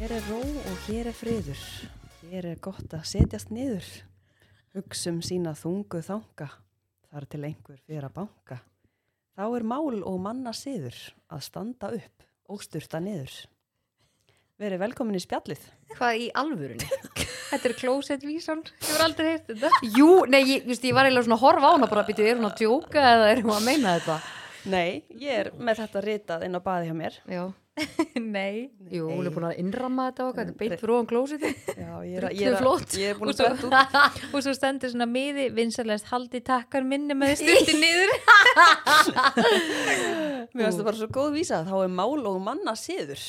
Hér er ró og hér er friður. Hér er gott að setjast niður. Hugsum sína þungu þanga. Þar til einhver fyrir að banka. Þá er mál og manna siður að standa upp og sturta niður. Verið velkomin í spjallið. Hvað í alvörunni? þetta er closet vísan, ég var aldrei heyrt þetta. Jú, nei, ég, just, ég var eiginlega svona að horfa á hana bara, býtu, er hún að djóka eða er hún að meina þetta? Nei, ég er með þetta ritað inn á baði hjá mér. Já, Nei. jú, hún er búin að innramma þetta okkar, þetta er beint frá hann closeti. Já, ég Drullu er, ég er, flott. að, ég er búin Og að svo- dæta út. Og svo stendur svona miði vinsalegast haldi takkar minni með styrti niður. Mér finnst það bara svo góð vísa. Þá er mál og manna siður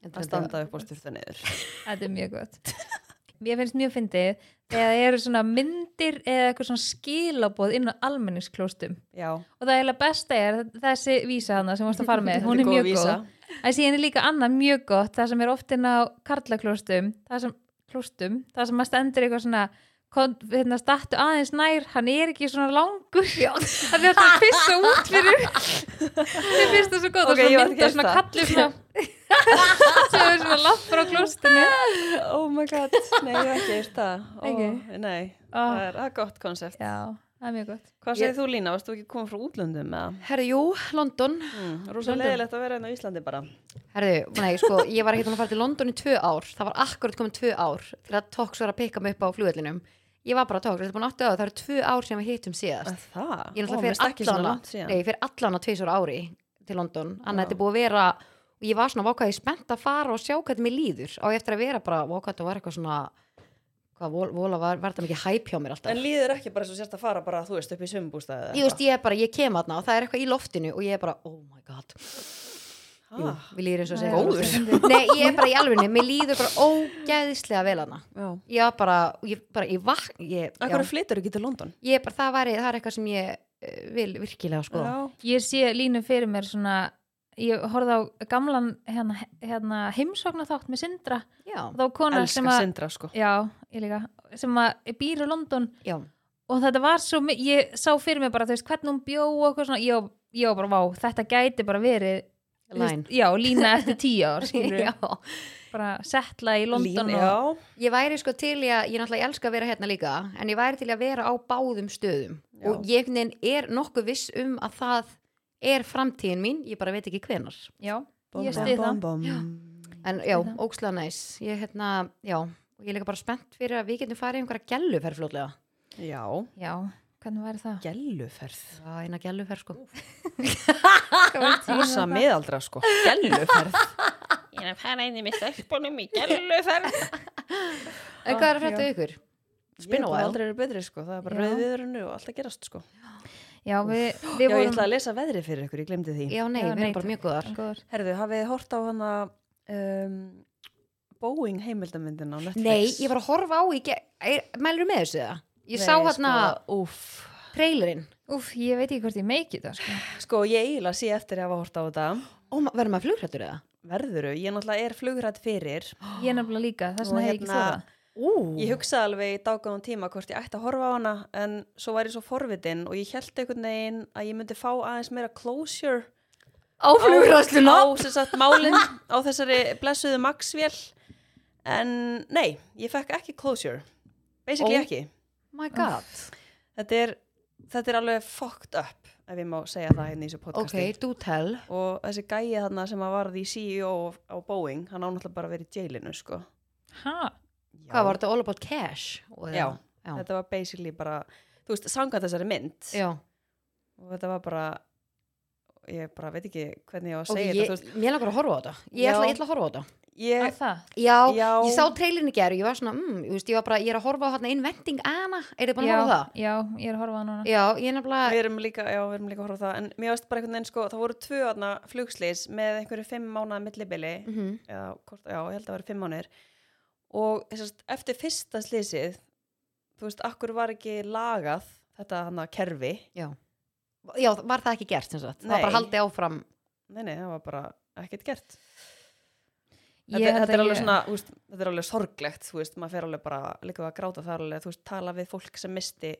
Þetta að er standa upp og sturta niður. Þetta er mjög gott. Mér finnst mjög fyndið þegar það eru svona myndir eða eitthvað svona skilaboð inn á almenningsklóstum. Já, Og það er eiginlega besta er að þessi vísa hana sem varst að fara með, hún er Þetta er góð mjög vísa. góð. En síðan er líka annað mjög gott, það sem er oft inn á karlaklóstum, það sem, klóstum, það sem að stendur eitthvað svona, kon- hérna, stattu aðeins nær, hann er ekki svona langur, það er þetta að pissa út fyrir, mér finnst það svo gott, Ok, ég okay, það var ekki mynda að svona hlusta. kallið svona, sem er svona langt frá klóstinu. Oh my god, nei, ég hef ekki eitt það. Ó, Ekki? Nei, Oh, það er það er gott konsept. já, það er mjög gott. Hvað segir þú Lína, varst þú ekki komin frá útlöndum með það? Herru, jú, London. Mm, Rúsa leðilegt að vera hérna á Íslandi bara. Herru, nei, sko, ég var ekki búin að fara til London í tvö ár. Það var akkurat komin tvö ár þegar Tox var að pikka mig upp á flugvellinum. Ég var bara Tox, þetta er búin áttu á, það eru tvö ár sem við hittum síðast. Að það? Ég Ó, náttúrulega mér stakk ekki fyrir svona allana, langt síðan. nei, ég fyrir allana tvisur ári til London. Þannig að þetta er búið að vera, og ég var svona vákað, ég spennt að fara og sjá hvernig mér líður. Á ég eftir að vera bara, vákað, þetta var eitthvað svona, hvað, vol- vola var, var þetta mikið hæp hjá mér alltaf. En líður ekki bara svo sérst að fara bara, þú veist, upp í sumbústaði? ég veist, ég er bara, ég kem aðna og það er eitthvað í loftinu og ég er bara, oh my god Jú, Ah, við líður eins og segja Góður. Nei, ég er bara í alvegni, mér líður bara ógæðislega vel aðna Já. Ég var bara, ég bara, ég vakn ég, Af já, hverju flytur ekki til London? ég er bara, það væri, það er eitthvað sem ég eh, vil virkilega sko Ég sé línu fyrir mér svona, ég horfði á gamlan hérna, hérna, heimsóknarþátt með Sindra Já, þá kona sem Elskar að Sindra, sko. já, ég líka, sem að býr í London já, og þetta var svo mi- ég sá fyrir mig bara, þú veist, hvernig hún bjó og eitthvað svona, ég, var- ég var bara, vá, þetta gæti bara verið, þú Line. já, lína eftir tíu ár, skilur já bara settla í London Lín, og, já. Ég væri sko til í að, ég náttúrulega elska að vera hérna líka en ég væri til í að vera á báðum stöðum Já. og ég einhvern veginn er nokkuð viss um að það er framtíðin mín ég bara veit ekki hvenar já, Bom, ég bom, stið bom, það bom. En já, það. ókslega næs. Ég, hérna, já, og ég er líka bara spennt fyrir að við getum farið í einhverja gæluferð fljótlega. Já, já, hvernig væri það gelluferð. Já, eina gæluferð sko. Rosa miðaldra, sko. Gelluferð. Ég er að fara inn í mitt ekkunum í gelluferð. En hvað er að frétta við ykkur? Spinn Spin og a while. aldrei eru betri, sko. Það er bara Já. rauðviðurinu og allt að gerast, sko. já, við, Já, við ég ætla vorum að lesa veðrið fyrir ykkur, ég glemdi því. Já, nei, Já, við nei, erum bara mjög góðar. góður. Herðu, hafið þið hort á hana um, Boeing heimildamyndin á Netflix? Nei, ég var að horfa á í gæluferð. Mælur með þessu það? Ég sá hérna Sko, úf. trailerinn. úf, ég veit ekki hvort ég meiki það sko. Sko, ég eiginlega sé eftir að hafa hort á þetta. Ó, ma- verður maður flugrættur eða? Verðuru, ég náttúrulega er flugrætt fyrir. ég er nefnilega líka, þess Og vegna hef ég ekki hérna- þóra Ú, Ég hugsaði alveg í dágóðan tíma hvort ég ætti að horfa á hana en svo var ég svo forvitin og ég held einhvern veginn að ég myndi fá aðeins meira closure á Oh flugrættuna? á sem sagt málinn á þessari blessuðu Maxwell en nei, ég fekk ekki closure. Basically Ó. ekki. My god. Þetta er, þetta er alveg fucked up ef ég má segja það hérna í þessu Ok, podcasti do tell. og þessi gæi þarna sem að varði í CEO á Boeing, hann ánáttúrulega bara verið í jailinu sko ha, Já. Hvað var þetta all about cash? Og- Já, Já. þetta var basically bara þú veist, sangað þessari mynd Já. og þetta var bara ég bara veit ekki hvernig ég á að Ok, segja þetta ég, þú veist, mér langar að horfa á þetta. Ég Já. ætla, ég ætla að horfa á þetta. að ég, það Já, Já. ég sá trailinni gerð og ég var svona, mm, ég, veist, ég var bara, ég er að horfa á hérna inventing Anna, er þið búin að já, horfa á það? já, ég er að horfa á núna Já, ég er nefnilega, við erum líka, já, við erum líka að horfa á það en mér veist bara einhvern veginn sko, það voru tvö aðna flugslýs með einhverju fimm mánaða millibili mm eða, hvort, já, ég held að það var fimm mánir og þessast, eftir fyrsta slysið þú veist, akkur var ekki lagað þetta hann að kerfi já, var það ekki gert sem sagt, það var Nei. bara haldið áfram. nei, nei, það var bara ekkert gert Ég þetta, held þetta er að alveg ég- svona, þú veist, þetta er alveg sorglegt þú veist, maður fer alveg bara líka að gráta það alveg, þú veist, tala við fólk sem misti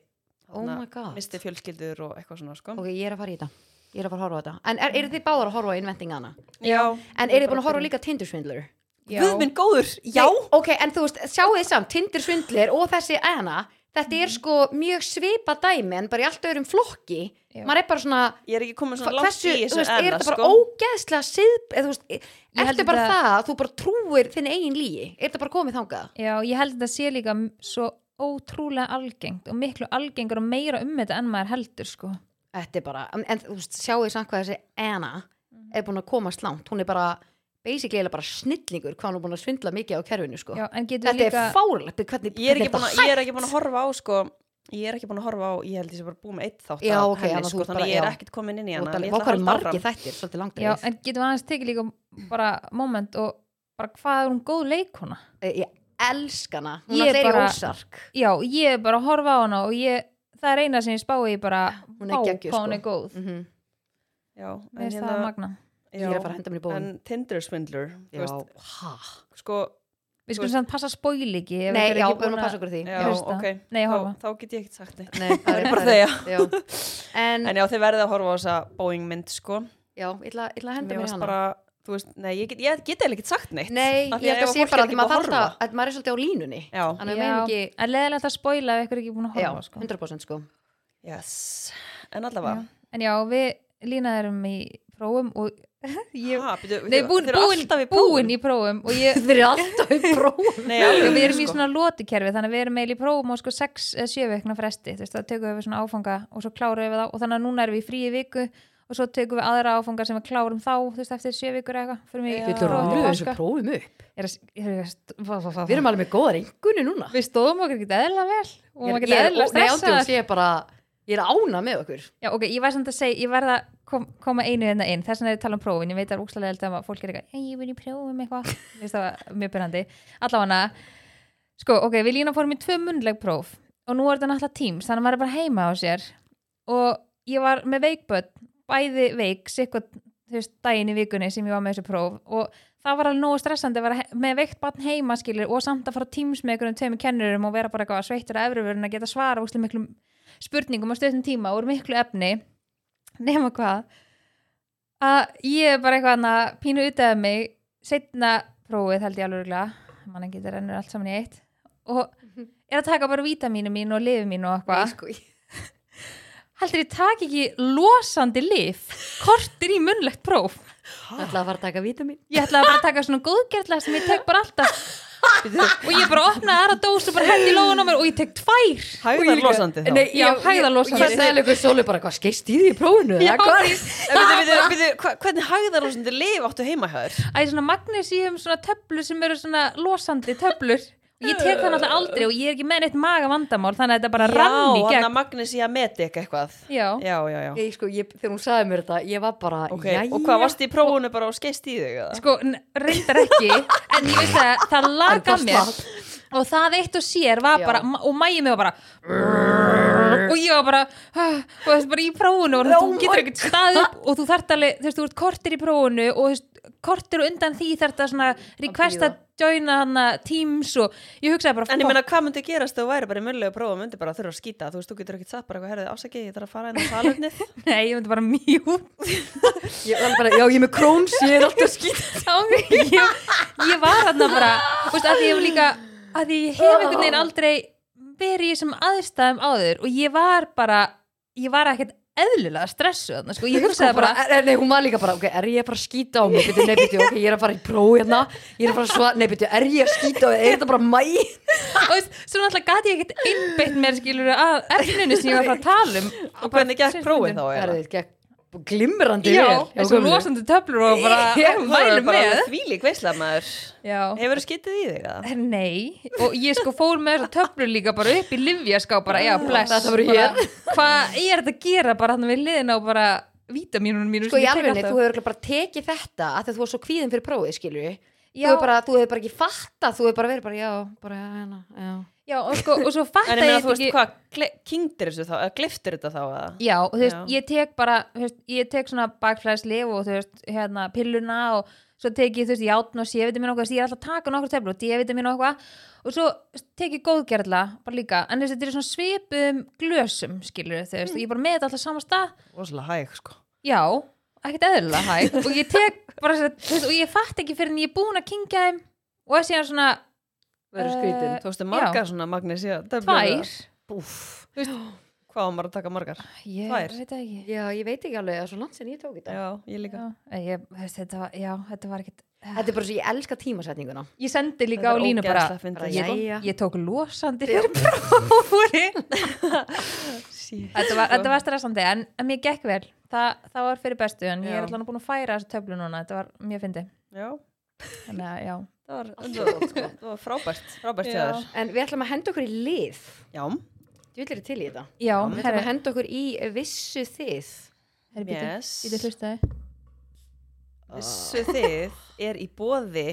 Oh my god, misti fjölskyldur og eitthvað svona sko. ok, ég er að fara í þetta, ég er að fara að horfa á þetta. En er, er þið báðar að horfa á inventing Anna? já, En er þið búin að horfa líka Tindersvindler? Guð minn góður, já Nei, ok, en þú veist, sjáu þið samt, Tinder svindlir og þessi ena, þetta er sko mjög svipa dæmi en bara í allt öðrum flokki, Já. maður er bara svona Ég er ekki komin hva- svona langt hversu, í þú þessu veist, er enna, þetta bara sko ógeðslega sið, eða þú veist, held ertu bara þetta- það að þú bara trúir þinn eigin lígi, er þetta bara komið þangað? Já, ég held að þetta sé líka m- svo ótrúlega algengt og miklu algengur og meira um þetta en maður heldur sko. Þetta er bara, en, en þú veist, sjáu þið samt hvað þessi ena Mhm. er búin að komast langt, hún er bara, basically, eiginlega bara snillingur hvað hún er búin að svindla mikið á kerfinu, sko. Já, en getur Þetta líka... er fárlegt, hvernig, Ég er hvernig ekki búin þetta að- ég er ekki búin að horfa á, sko Ég er ekki búin að horfa á, ég held ég sem bara búið með eitt þátt Já, af ok, annars henni, þú sko, þannig ert bara- að ég er já. ekkert komin inn í hana en hérna, ég ætla að Vokar halda margi áfram. þættir, svolítið langt Já, en getum við aðeins tekið líka bara moment og bara hvað er hún góð leikona? ég elska hana hún Ég er þeirri bara- bara... ósark Já, ég er bara að horfa á hana og ég, það er eina sem ég spái ég bara, Hún er vá, geggjuð, hvað hún er sko. góð. mm -hmm. Já, Mér en finnst það hérna magna. ég er Mhm. að fara að já, henda mér í bóðum En Tinder svindlur, þú veist, já, ha sko Við Þú skulum samt passa spóil ekki. ef nei, þetta er já, ekki við erum búin að passa okkur á því Já, Hlusta. ok, Nei, þá, horfa. þá get ég ekkert sagt neitt nei, það Ég er er bara það er- þegja. já. en, En já, þið verðið að horfa á þessa Boeing mynd, sko já, ég ætla ég ætla að henda Mér mér í varst hana bara, þú veist, nei, ég get, ég get eða ekkert sagt neitt nei, Af ég því held ef að sé fólk er bara að ekki maður búið þarf að að maður er svolítið á línunni horfa. Já, þannig að Já, meðum ekki en leðilegt að spóila ef ykkur er ekki búin að já, horfa sko. 100% sko yes, en allavega en já, við lína erum í prófum og ég, Ha, byrju, nei, þið- búin, þið eru búin, alltaf í búin í prófum og ég, þeir eru alltaf í prófum Nei, Já, alveg, við erum í sko. svona lotukerfi þannig að við erum eiginlega í prófum á sko 6-7 vikna fresti þú veist, það tökum við svona áfanga og svo klárum við þá og þannig að núna erum við í fríi viku og svo tökum við aðra áfanga sem við klárum þá þú veist, eftir 7 vikur eða eitthvað förum í Já. við próf Viltu til erum páska. Ég þessu prófum upp er að- ég er að- fá, fá, fá, við erum alveg með góðar engunni núna fá. við stóðum okkur ekki eðla vel og ég maður er- ekki ég er eðla ó- nei, ándjóks, stressað ég er bara ég er ána með okkur Já, ok, ég var samt að segja, ég verða að kom, koma einu hérna inn, þess vegna er ég að tala um prófin ég veit að það er úkslega held að fólk er eitthvað "Hey, ég vil í prófum eitthvað, Mér finnst það var mjög byrjandi allavega sko, ok, við lína fórum í tvö munnleg próf og nú er þetta náttúrulega Teams, þannig að maður er bara heima á sér og ég var með veikböld bæði veik, sikkur þú veist, daginn í vikunni sem ég var með þessu próf og það var alveg nógu stressandi að vera he- með veikt barn heima skilur og samt að fara á Teams með einhverjum tveimur kennurum og vera bara eitthvað sveittur að efruvörun að geta svara úrslega miklum spurningum á stöðum tíma og úr miklu efni nema hvað að ég er bara eitthvað annað að pínu út af mig setna prófið held ég alveg örugglega, mann ekki þetta rennur allt saman í eitt og er að taka bara vítamínu mín og lifi mín og eitthvað Nei, sko, ég- heldur ég taka ekki losandi lif kortir í munnlegt próf Ég ætla að fara að taka vítamin ég ætlaði bara að taka svona góðgerðla sem ég tek bara alltaf og ég bara opnaði aðra dós og bara hendi í lóðun á mér og ég tek tvær Hægðar losandi þá Nei, Já, ég- hægðarlosandi. Ég sagði ykkur sólu bara, hvað skeist í því í prófunu? Já, En byrju, byrju, byrju, hva- Hvernig hægðar losandi lif áttu heima hjá þér? að ég svona magnesíum svona töflur sem eru svona losandi töflur og ég tek það náttúrulega aldrei og ég er ekki með neitt maga vandamál þannig að þetta bara rann í Já, hann gegn að Magnus í að meti eitthvað já, Já, já, já Ég, sko, ég, þegar hún sagði mér þetta, ég var bara, Ok, jæja. og hvað varst í prófunu bara og skeist í þig? eða? sko, n- reyndar ekki en ég veist að það laga En það mér og það eitt og sér var Já. bara og mægið mig var bara og ég var bara ah, og þess bara í prófunu og þú getur ekkert stað upp og þú þart alveg, þú veist, þú ert kortir í prófunu og þú veist, kortir og undan því þart að svona request að joina hana teams og ég hugsaði bara En ég fuck, meina, hvað myndi gerast ef þú væri bara í mjöllega prófa myndi bara þurfa að skýta, þú veist, þú getur ekkert sagt bara eitthvað, herðu, ásakið, ég þarf að fara inn á salurnið nei, ég myndi bara mjút Ég var bara, já, ég er með króns, ég er alltaf skýt. á mig ég, ég var þarna bara þú veist, að því ég hef líka að því ég hef einhvern veginn aldrei verið í þessum aðstæðum áður og ég var bara ég var ekkert eðlilega stressu þarna, sko. ég hugsaði bara er, eh, nei, hún var líka bara, ok, er ég að fara að skýta á mig? Byrju, nei, byrju, ok, ég er að fara í próf hérna, ég er að fara að svara, nei, byrju, er ég að skýta á mig? Er þetta bara mæ? og þú veist, svo náttúrulega gati ég ekkert einbeitt mér skilur að efninu sem ég var að fara að tala um Og hvernig gekk prófið þá? Það er eiginlega? þetta gekk glimrandi já, vel. þessu gömlu. losandi töflur og bara Ég var mælu bara með því lík veisla maður já Hefur þú skýtið í þig það? Nei, og ég sko fór með þessar töflur líka bara upp í livjaská bara, Ah, já, bless Þetta voru Bara, Hvað er þetta að gera bara hann við liðin á bara vítamínunum mínu Sko, í alvegni, þú hefur örugglega bara tekið þetta að þú var svo kvíðin fyrir prófið, skilju. Þú Já. hefur bara, þú hefur bara ekki fattað, þú hefur bara verið bara, já, bara, já, hérna, já. Já, og sko, og svo fatta En ég meina, ég þú veist, ekki hvað, gle- kyngdir þessu þá, eða gliftir þetta þá eða? Já, og þú veist, Já. ég tek bara þú veist, ég tek svona bakflæðisleif og þú veist, hérna, pilluna og svo tek ég, þú veist, játn og sévitamin og eitthvað, þú veist, ég er alltaf að taka nokkur teflu og D-vitamin og eitthvað og svo tek ég góðgerðla bara líka, en þú veist, þetta er svona svipum glösum, skilur þú veist, og ég er bara með þetta alltaf sama stað Róslega hæg, sko já, ekkert eðlilega hæg og ég tek bara sér, veist, og ég fatt ekki fyrir en ég er búin að kingja þeim og síðan svona verður Eh, skrítin, tókstu margar svona magnesia tvær Búf. hvað var maður að taka margar? ég Tvær? veit það ekki Já, ég veit ekki alveg, það er svo langt sem ég tók þetta. já, ég líka já, en ég, veist, þetta, var, já, þetta var ekkit Þetta er bara svo, ég elska tímasetninguna. ég sendi líka Þetta á er línu bara, ógeðslega fyndið, bara, ég, jæja. ég tók losandi fyrir prófúri Shit. þetta, var, þetta Sko. var stressandi en, en mér gekk vel Þa, það var fyrir bestu en ég Já. er allan búin að færa þessu töflu núna þetta var mjög fyndi já, þannig að já það var, Allt það var gott, sko. var, það var frábært frábært hjá Já. þér En við ætlum að henda okkur í lið. já, Þú vilir til í þetta. já, Við ætlum að herri, henda okkur í vissu þið. herri býtu, yes býtu hlustaði vissu þið er í boði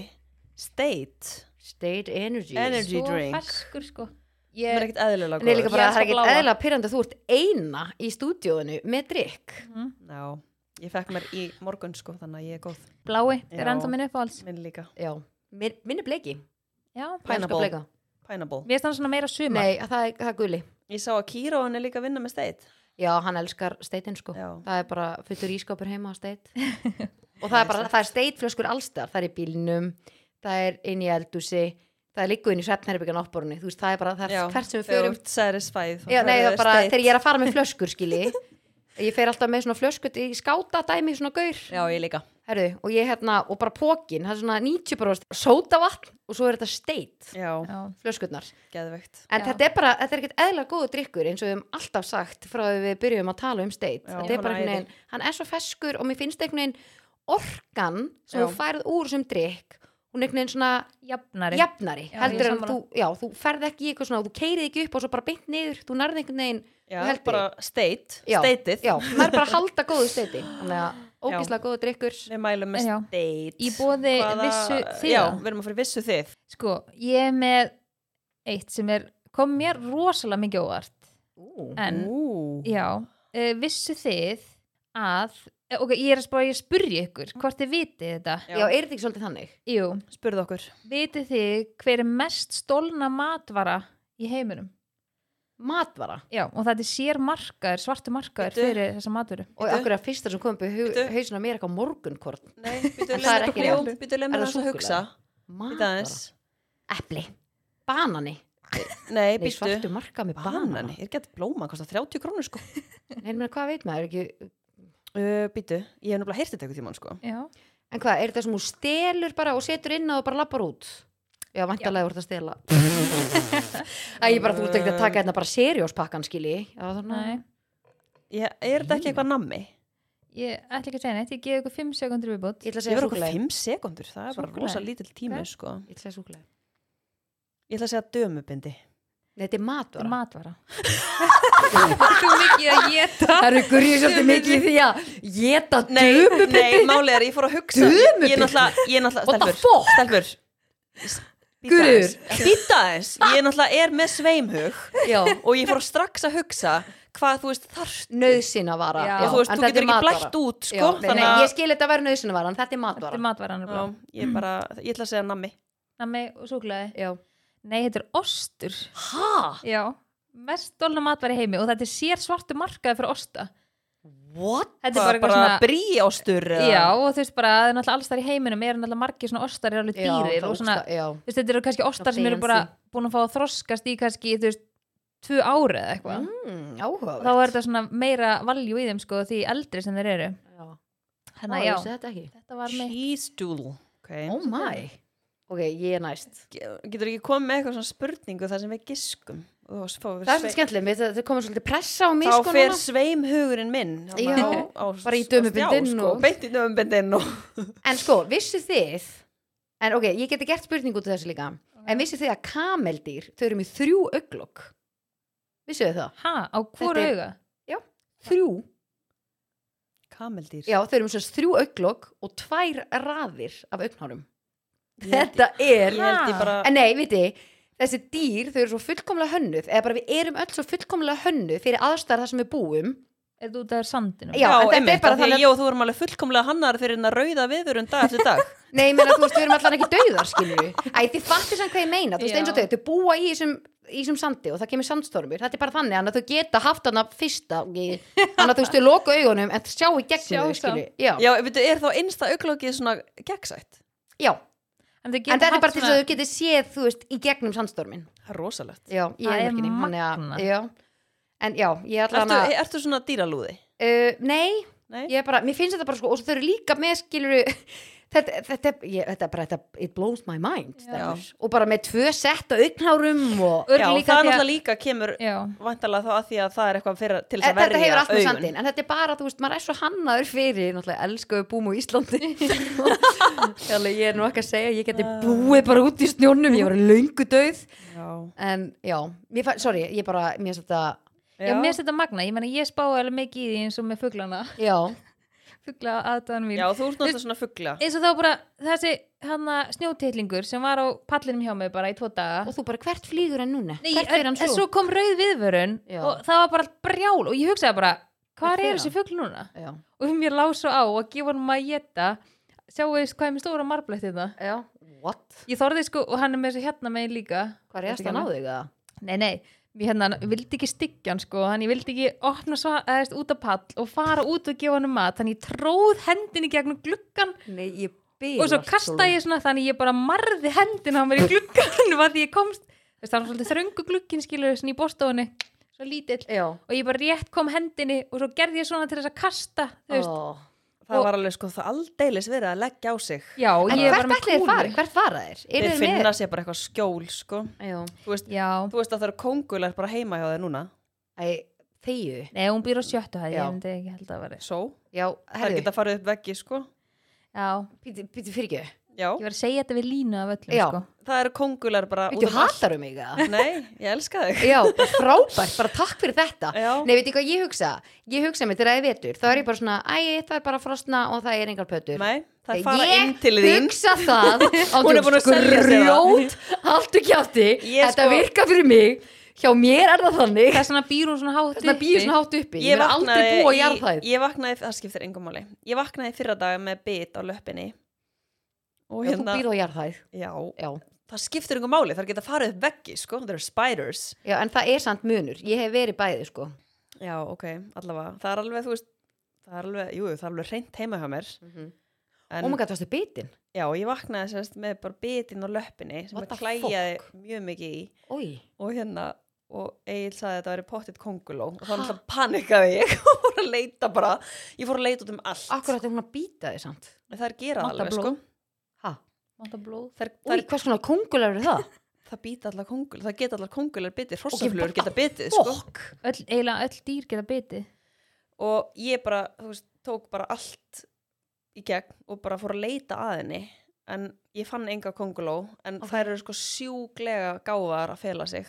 state State Energy. Energy. svo drink. ferskur sko það ég, er ekkert eðlilega En er líka góður. Ég bara, það er elska ekki bláa. eðla pyrrandi að þú ert eina í stúdíóinu með drikk. já, ég fekk mér í morgun sko þannig að ég er góð, blái, þetta er Já. enda minn uppáhalds minn líka Já. Mér, minn er bleiki. já, Ég elska Pineapple. bleika. pineapple, mér er þannig svona meira sumar Nei, það er, það er gulli. ég sá að Kíró hann er líka að vinna með state Já, hann elskar steitin sko. Já. Það er bara fullur ískapur heima á steit. og það er bara, það er steitflöskur allstar. Það er í bílnum, það er inn í eldúsi, það er líka inn í svefnherbyggjan áttborunni. Þú veist, það er bara, það er hvert sem við þegar þú förum. ert satisfied þá Já, nei, ferðu það er bara, state. þegar ég er að fara með flöskur, skilji. Ég fer alltaf með svona flöskut í skáta dæmi, svona gaur. já, ég líka Herru, og ég hérna, og bara pókin, það er svona 90% sótavatn og svo er þetta steit, já, Já. flöskutnar. geðvegt En Já. þetta er bara, þetta er ekkert eðla góðu drikkur eins og við höfum alltaf sagt frá því við byrjum að tala um steit. Já, Þetta er hann bara er einhvern veginn, hann er svo feskur og mér finnst einhvern veginn orkan sem Já. þú færð úr sem drikk, hún er einhvern veginn svona jafnari jafnari, Já, ég heldur er en þú, sammála. já, þú ferð ekki í eitthvað svona, þú keirið ekki upp og svo bara beint niður, þú nærði einhvern veginn já, Þú heldur bara state, Já, stateið Já, maður er bara að halda góðu steiti Þannig að ógislega góðu drikkur Við mælum með Já. state Í boði vissu þið. Já, við erum að fara í vissu þið sko, ég er með eitt sem er, kom mér rosalega mikið óvart en, Ú, já, uh, vissu þið að, eh, ok, ég er að spá ég spurja ykkur, hvort þið vitið þetta Já. Já, er þetta ekki svolítið þannig? jú, spurðu okkur vitið þið hver er mest stólna matvara í heiminum Matvara já, og þetta er sér markaður, svartu markaður Bíddu. fyrir þessa matvöru Og Bíddu. akkur að fyrsta sem kom upp í hau- Bíddu. hausinn á mér er eitthvað morgunkorn Nei, býtu En það er ekki lemur rétt. Býtu Er lemur það þess að hugsa Býtu Matvara aðeins Epli Banani Nei, Nei, býtu svartu marka með banani Banani, er ekki að blóma, kostar 30 krónur sko Nei, menn, hvað veit maður ekki uh, Býtu, ég hef nefnilega heyrt þetta eitthvað tímann sko já, En hvað, er þetta sem hún stelur bara og setur inn og bara lappar út? Já, vantarlega voru þetta að stela Æ, ég bara, þú ert ekki að taka hérna bara serióspakkan, skilji Já, þannig nei ég, Er þetta ekki eitthvað nammi? ég ætla ekki að segja neitt, ég gefi ykkur 5 sekundur viðbót Ég ætla að Ég segja verður okkur súkulega 5 sekundur, það er bara Súkkulaði. rosa lítill tími Ok. sko Ég ætla að segja súkulega Ég ætla að segja dömubindi Nei, þetta er matvara matvara þú mikið að geta Það eru gurjur svolítið mikið í því að geta dömu nei, málið er, ég fór að hugsa Ég er náttúrulega, ég er What the náttúrulega, fuck? stelfur, stelfur Gurur. Býta aðeins, ég er náttúrulega er með sveimhug Já, og ég fór strax að hugsa hvað þú veist þarft nöðsynavara Já. og þú veist, þú getur ekki blætt út sko, nei, nei, að Ég skil þetta að vera nöðsynavara, en þetta er þetta matvara er matvaran já, ég bara, ég ætla að segja nammi nammi og súklaði Já. Nei, þetta er ostur. Hæ? Já. Mest stólna matvar í heimi og þetta er sér svartu markaði fyrir osta. What? bara, Þetta er bara bara svona... eitthvað svona... bríástur Já, og þú veist bara, það er náttúrulega alls þar í heiminum er náttúrulega margir svona ostar er alveg dýrir og svona, Já, þú veist, þetta eru kannski ostar sem eru fancy. bara búin að fá að þroskast í kannski, þú veist, tvö ári eða eitthvað. mm, Og áhugavert Þá er þetta svona meira valjú í þeim sko því eldri sem þeir eru. Já, Þannig að já já, Þetta ekki þetta var mitt. cheese doodle okay. Oh my Ok, ég er næst getur ekki komið með eitthvað svona spurningu þar sem við giskum Og svo fáum við Það er svolítið svei- skemmtileg, mér- það það komið svolítið pressa á mig þá sko fer núna. sveimhugurinn minn Já, þarna á, á, bara í á dömubindinn stjá, sko, og- beint í dömubindinn og En sko, vissu þið En ok, ég geti gert spurningu út af þessu líka En vissu þið að kameldýr, þau eru með þrjú auglokk Vissu þið það? Ha, á hvora Þetta er- auga? Þrjú? kameldýr Já, þau eru með svona þrjú auglokk og tvær raðir af augnhárum Ég held- Þetta er ég held ég bara En nei, viti, þessi dýr, þau eru svo fullkomlega hönnuð Eða bara við erum öll svo fullkomlega hönnuð fyrir aðstæðar þar sem við búum Er þetta út af sandinum? Já, en þetta er einmitt, bara af því að þannig að- ég og þú erum alveg fullkomlega hannar fyrir hennar rauða viður um dag eftir dag Nei, ég meina, þú veist, við erum allan ekki dauðar, skilur við Æ, þið fattir samt hvað ég meina, þú veist, Já. eins og þau Þau búa í þessum, í þessum sandi og það kemur sandstormur Þetta er bara þannig þannig að þau geta haft hana fyrsta Þannig að þú veist, þau loka augunum en sjá í Sjá gegnum þau, samt. skilur við Já, já, veitu, er þá einsta auglókið svona gegnsætt já, en, þau geta en þetta er haft bara til þess svona- að þú getur séð þú veist, í gegnum sandstormin það er rosalegt já, í Það er einverkinni þannig að- magnað. já. en já, ég ætla ertu, hana ertu svona dýralúði? uh, nei, Nei? ég er bara, mér finnst þetta bara sko og svo þau eru líka með skiluru þetta, þetta, ég, þetta er bara, þetta, it blows my mind stelpur. og bara með tvö sett og augnárum og Örg Já, líka það er því að- náttúrulega líka kemur já, vantarlega þá að því að það er eitthvað fyrir, til þess að En Eh, þetta hefur verja allt með augun sandin, en þetta er bara, þú veist, maður er svo hannaður fyrir, náttúrulega elskuðu búm á Íslandi Þannig ég er nú ekki að segja, ég geti búið bara út í snjónum, ég var löngu döð Já. En já, mér fann, sorry, ég bara, mér finnst þetta, já, mér finnst þetta magna, ég meina ég spáði alveg mikið í því eins og með fuglana já, fugla aðdáðan mín Já, þú ert náttúrulega svona fuggla eins og þá bara þessi hana snjóteitlingur sem var á pallinum hjá mig bara í tvo daga og þú bara, hvert flýgur en núna? Nei, hvert en, en svo kom rauð viðvörun Já. og það var bara allt brjál og ég hugsaði bara Hvert hvað fer er hann? þessi fugl núna? Já, og mér lá svo á að gefa hann maður að geta sjáu þess hvað er með stóra marblætt þetta já, what? ég þorði sko og hann er með þessu hérna megin líka Hvað er þetta að ná þig að? nei nei, ég hérna hann vildi ekki styggja hann sko hann ég vildi ekki opna svo eðst, út af pall og fara út og gefa hann mat þannig ég tróð hendin í gegnum gluggan Nei, ég byrð og svo kasta ég svona þannig ég bara marði hendin á mér í gluggan var því ég komst þess, það var svolítið þröngu glugginn skilur svona í bóstofunni svo lítill Já, og ég bara rétt kom hendinni og svo gerði ég svona til þess að kasta þú veist Ó. Það var alveg sko það aldeilis verið að leggja á sig Já, en ég er bara hvert með ætlaði kúlu. fara, hvert fara þeir? Eru Þeir þeir með? finna sér bara eitthvað skjól sko Já, Þú veist, Já, þú veist að það eru kongular bara heima hjá þeir núna æ, þegju, nei, hún býr á sjöttu hæð, Já. ég myndi ekki held að vera Svo, já, það herðu, geta farið upp veggi sko Já, býti, býti fyrir ekki Já, ég var að segja þetta við línu af öllum, Já. sko það eru kongular bara Býtu, út um allt. hattar um mig það? Nei, ég elska þig Já, frábært, bara takk fyrir þetta Já. Nei, veit ég hvað ég hugsa? Ég hugsa mig þegar það er vetur, þá er ég bara svona Æ, það er bara frosna og það er engar pötur Nei, það er fara inn til Ég þín hugsa það sko Hún er búin að selja sig það. Grjót, haltu kjátti Ég Þetta sko- virka fyrir mig Hjá mér er það þannig Það er svona býr hún svona hátt Þannig að býður svona hátt uppi Ég verð aldrei vaknaði búa í í- jarðhæð Ég vaknaði, það skiptir engum máli Ég vaknaði fyrra dag með bit á löppinni Og Og þú hérna, býður á jarðhæð já, Já. það skiptir engum máli Það geta farið upp veggi, sko, það eru spiders Já, en það er samt munur Ég hef verið bæði, sko Já, ok, allavega, það er alveg, þú veist Það er alveg, jú, það er alveg reynt heima hjá mér Mhm. En, Ómagat, Oh varstu bitin? já, ég vaknaði semst með bara bitinn á löppinni Sem What ég the klæjaði fuck? mjög mikið í Ói Og hérna, og Egil sagði að þetta væri pottitt konguló Og þá náttúrulega panikaði ég Og fór að leita bara, ég fór að leita út um allt Akkur átti hún að býta þig samt En þær gera það Vantar alveg sko blóð. Hæ? Máta blóð þær, Úi, þær, hvers konar kongular eru það? það býta allar kongul það geta allar kongular bitið, bara- hrossaflur geta bitið sko. Fokk öll, Eiginlega öll dýr geta biti og ég bara, þú veist, tók bara allt í gegn og bara fór að leita að henni en ég fann enga konguló en Ok. þær eru sko sjúglega gáðar að fela sig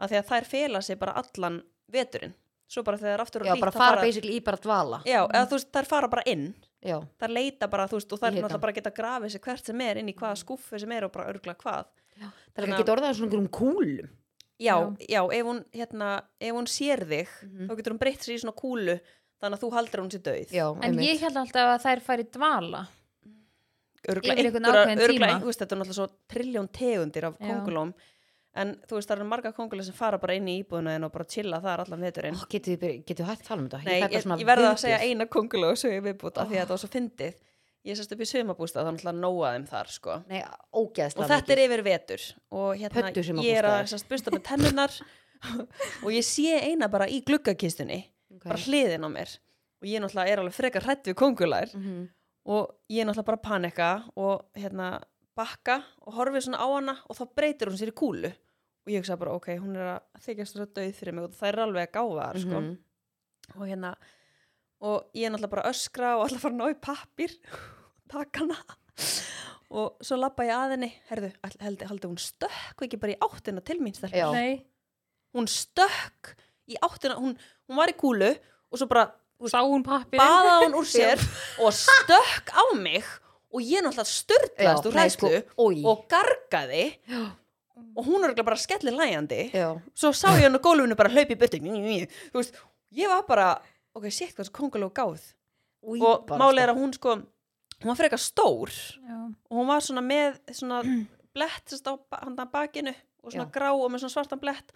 af því að þær fela sig bara allan veturinn svo bara þegar þær aftur Já, eru bara þá fara basically í bara dvala já, eða þú veist, þær fara bara inn Já, þær leita bara, þú veist, og þær Í Mm. hitan. náttúrulega bara geta grafið sig hvert sem er inn í hvaða skúffu sem er og bara örgla hvað það er Þannig ekki að- geta orðað svona einhverjum kúlum já, Já. já, ef hún, hérna, ef hún sér þig Mhm. þá getur hún breytt sér í svona kúlu þannig að þú haldir að hún sér döið Já, En ég held alltaf að þær færi dvala örgla Yfir einhvern einhverja, ákveðinn örgla tíma. einhverjum þetta er náttúrulega svo trilljón tegundir af Já. kongulóm en þú veist, það eru marga konguló sem fara bara inn í íbúðuna þinn og bara chilla þar allan veturinn Ó, getur þið byrjað- getur þið hægt að tala um þetta? Nei, fæ bara ég, ég, svona verða að viðbjóð. segja eina konguló og sögja viðbúta því að þetta var svo fyndið ég sérst upp í sömabústað, þannig að nóa þeim þar sko. Nei, ógeðslega og þetta er yfir vetur og hérna, Pöddu sumarbústaðir. ég er að sérst, busta með tennunar og ég sé eina bara í gluggakistunni bara hliðin á mér og ég náttúrulega er alveg frekar hrætt við kongular Mhm. og ég náttúrulega bara panika og hérna bakka og horfi svona á hana og þá breytir hún sér í kúlu og ég hugsa bara ok, hún er að þykjast þess að döið fyrir mig og það er alveg að gáfa þar sko Mhm. og hérna og ég er náttúrulega bara að öskra og alltaf fara að ná í pappir taka hana og svo labba ég að henni herðu, ætli- held, haldi hún stökk ekki bara í áttina til mín stelpa? Já. Nei, hún stökk í áttina, hún, hún var í kúlu og svo bara þú veist, sá hún pappir baða hún úr sér og stökk á mig og ég náttúrulega störtlaðist úr sko, hræslu Ói og gargaði og hún er örugglega bara skellir lægjandi Já, svo sá ég hann á gólfinu bara hlaupi í burtu þú veist, ég var bara ok, sétt hvað þessu kongalóg gáð úi og málið er að hún sko hún var frekar stór Já, og hún var svona með svona blett sérst á ba- handan bakinu og svona Já. grá og með svona svartan blett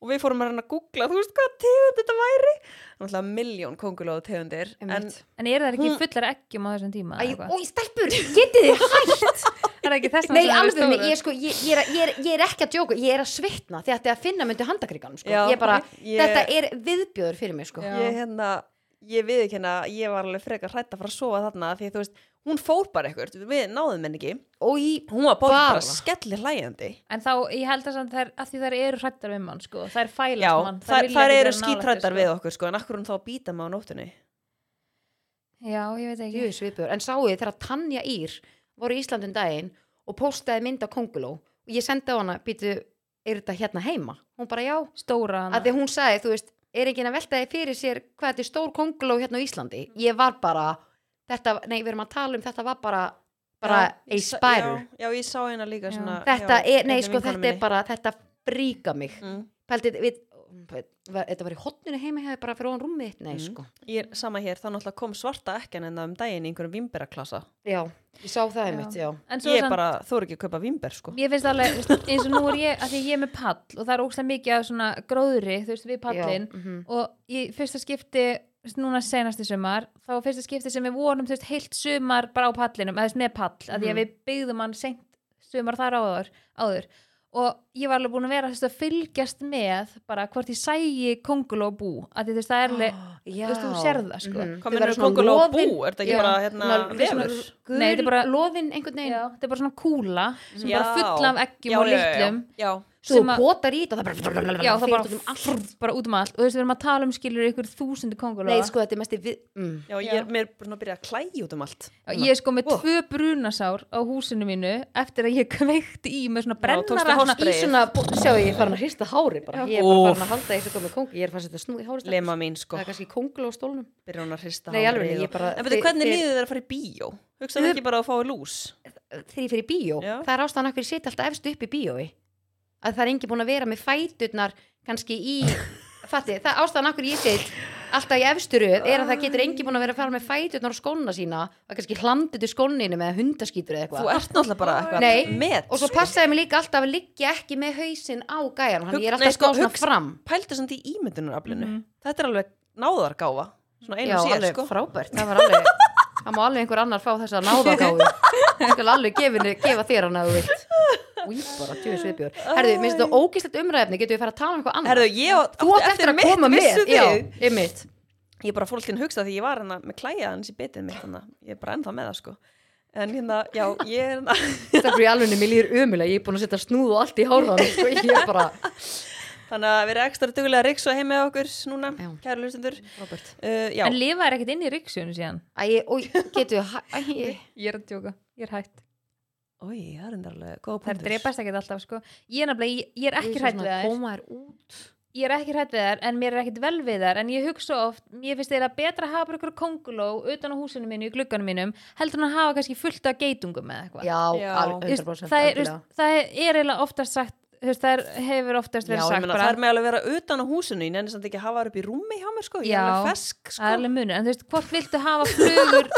og við fórum að reyna að googla, þú veist hvað tegund þetta væri náttúrulega miljón kongulóð tegundir en sko. Einmitt. En eru það ekki Hún- fullar eggjum á þessum tíma? Æ, eða eitthvað? ói, stelpur, getið þið hægt Það er ekki þess Nei, alveg, mér, ég, sko, ég, ég, er, að- ég, er, ég er ekki að djóka Ég er að svitna því að þetta er að finna myndi handakrikanum sko. Já, Ég bara, ég- þetta er viðbjöður fyrir mig sko. Já. ég hérna ég við ekki hérna, ég var alveg frekar hrætt að fara að sofa þarna því að þú veist, hún fór bara eitthvað við náðum henni ekki, Og í hún var bara, Bara. bara skellir hlægjandi En þá, ég held að samt þær, að því þær eru hrættar við mann, sko. Þær já, fælast mann. þær, þær vilja ekki eru vera nálægt þér, skítrættar sko. við okkur sko, en akkur hún þá býta mig á nóttunni Já, ég veit ekki. Jöfis viðbjör, en sáuði þegar Tanja Ír voru í Íslandum daginn og postaði mynd af Konguló og ég sendi á hana, býtu, er þetta hérna heima? Hún bara já, Stóra hana. að því hún sagði, þú veist, er enginn að velta þið fyrir sér hvað þetta er stór Konguló hérna á Íslandi? Ég var bara, þetta, nei, við erum að tala um þetta var bara, bara Já, a ég sa- spiral. já, já, ég sá hérna líka Já. svona Þetta já, er, nei, einni sko, vinkonu þetta er minni. bara, þetta fríka mig. mm. Pældið, við, var- þetta var í hotninu heima hefði bara fyrir hún rúmið þitt, nei, Mm. sko. Ég er sama hér, þá náttúrulega kom svarta ekkan en það um daginn í einhverjum vimberaklasa. Já, ég sá það einmitt, já. En svo Ég samt, bara, þú ekki að kaupa vimber sko. ég finnst alveg, þú veist, eins og nú er ég, að því ég er með pall og það er ógstlega mikið af svona gróðri, þú veist, við pallin. Já, mhm. Og í fyrsta skipti, þú veist, núna senast í sumar, þá var fyrsta skipti sem við vorum, þú veist, heilt sumar bara á pallinum, eða þú veist, með pall, að því Mhm. að við byggðum hann seint sumar þar áður. áður. Og ég var alveg búin að vera þú veist, að fylgjast með bara hvort ég sægi kongulóbú, að því þú veist, það er alveg, Já. Þú veist, þú sérð það, sko. Mhm. Hvað Þau mennur verða þú svona kongul á bú? loðin- Er þetta ekki Já. bara hérna Svona- þetta er svona vefur? gul- Nei, þetta er bara- loðin einhvern veginn Já, þetta er bara svona kúla sem Já. er bara full af eggjum Já, og já, já, já. litlum Já, svo sem að- potar í þetta og það bara Já, það fer bara, út um allt. frr, bara út um allt og þú veist, við erum að tala um skilur ykkur þúsundu kongulóa nei sko þetta er mest í við mm. já, ég er mér er bara svona að byrja að klæja út um allt. Já, Ég er sko með Ó. tvö brunasár á húsinu mínu eftir að ég kveikti í með svona tókstu brennara hárspray. svona- í svona bú- sjáu ég er farin að hrista hári bara. ég er bara Úff. farin að halda eins og komið kóngi ég er farin að setja snú í hári strax. Lema mín sko, það er kannski kóngul á stólnum byrja hún að hrista Nei, í alvörunni, hárið ég og- bara- En betur, þið- hvernig þið- líður þér að fara í bíó? Hugsaðu ekki bara að fá lús? þegar ég fyrir bíó Já. það er ástæðan okkur ég setja alltaf efst upp í bíói að það er engin búin að vera með fæturnar kannski í fatti, það er ástæðan okkur ég set alltaf í efsturuð er að það getur engin búin að vera að fara með fæturnar og skóna sína og kannski hlandið til skóninu með hundaskýtur eða Þú eitthvað ert náttúrulega bara Nei, eitthvað met. og svo passaði mig líka alltaf að liggja ekki með hausinn á gæjan hann ég er alltaf Nei, sko, að spá svona hugsa- fram Pæltu samt í ímyndunaraflinu. Þetta er alveg náðargáfa. Svona einu Mhm. já, sér alveg sko. frábært, það var alveg það má alveg einhver annar fá þess að náða gáðu ég skal alveg gefinu, gefa þér hann að þú vilt úi bara, tjóði svipjör herðu, minnst þetta ógislegt umræðefni, getur við fara að tala um eitthvað annað Herðu, ég átti þú átt eftir að mitt, koma vissuð með já, þið? einmitt ég bara fór alltaf inn að hugsa því ég var hérna með klæja hans í bitið mitt þannig að ég er bara ennþá með það sko en hérna, já, ég er hérna þetta er í alveg, mér líður umulega, ég er búin að setja snúð og allt í hárðan, sko, ég er bara þannig að við erum ekstra dugulega að riksa heim með okkur núna, Já. kæru hlustendur uh, Robert, já, En lifa er ekkert inn í ryggsjónu síðan æ, og getur við hæ- æ, Ég er að tjóka, ég er hætt oi, það er enda alveg góða Það er punktur drepast ekkert alltaf sko Ég er nefnilega, ég, ég er ég ekki er hrætt við svo svona þær koma þér út Ég er ekki hrætt við þær en mér er ekkert vel við þær en ég hugsa oft, ég finnst þeirra betra að hafa bara ykkur konguló utan á húsinu mínu í glugganum mínum heldur en að hafa kannski fullt af geitungum eða eitthvað já, Já. alveg, Þú veist, 100% það, er, þú algjörlega. veist, það er eiginlega oftast sagt þú veist, það er, hefur oftast já, verið ég sagt meina, bara, það er með alveg að vera utan á húsinu ég nenni samt ekki að hafa það upp í rúmi hjá mér sko ég Já. er alveg fesk það er sko alveg munur en þú veist, hvort viltu hafa flugur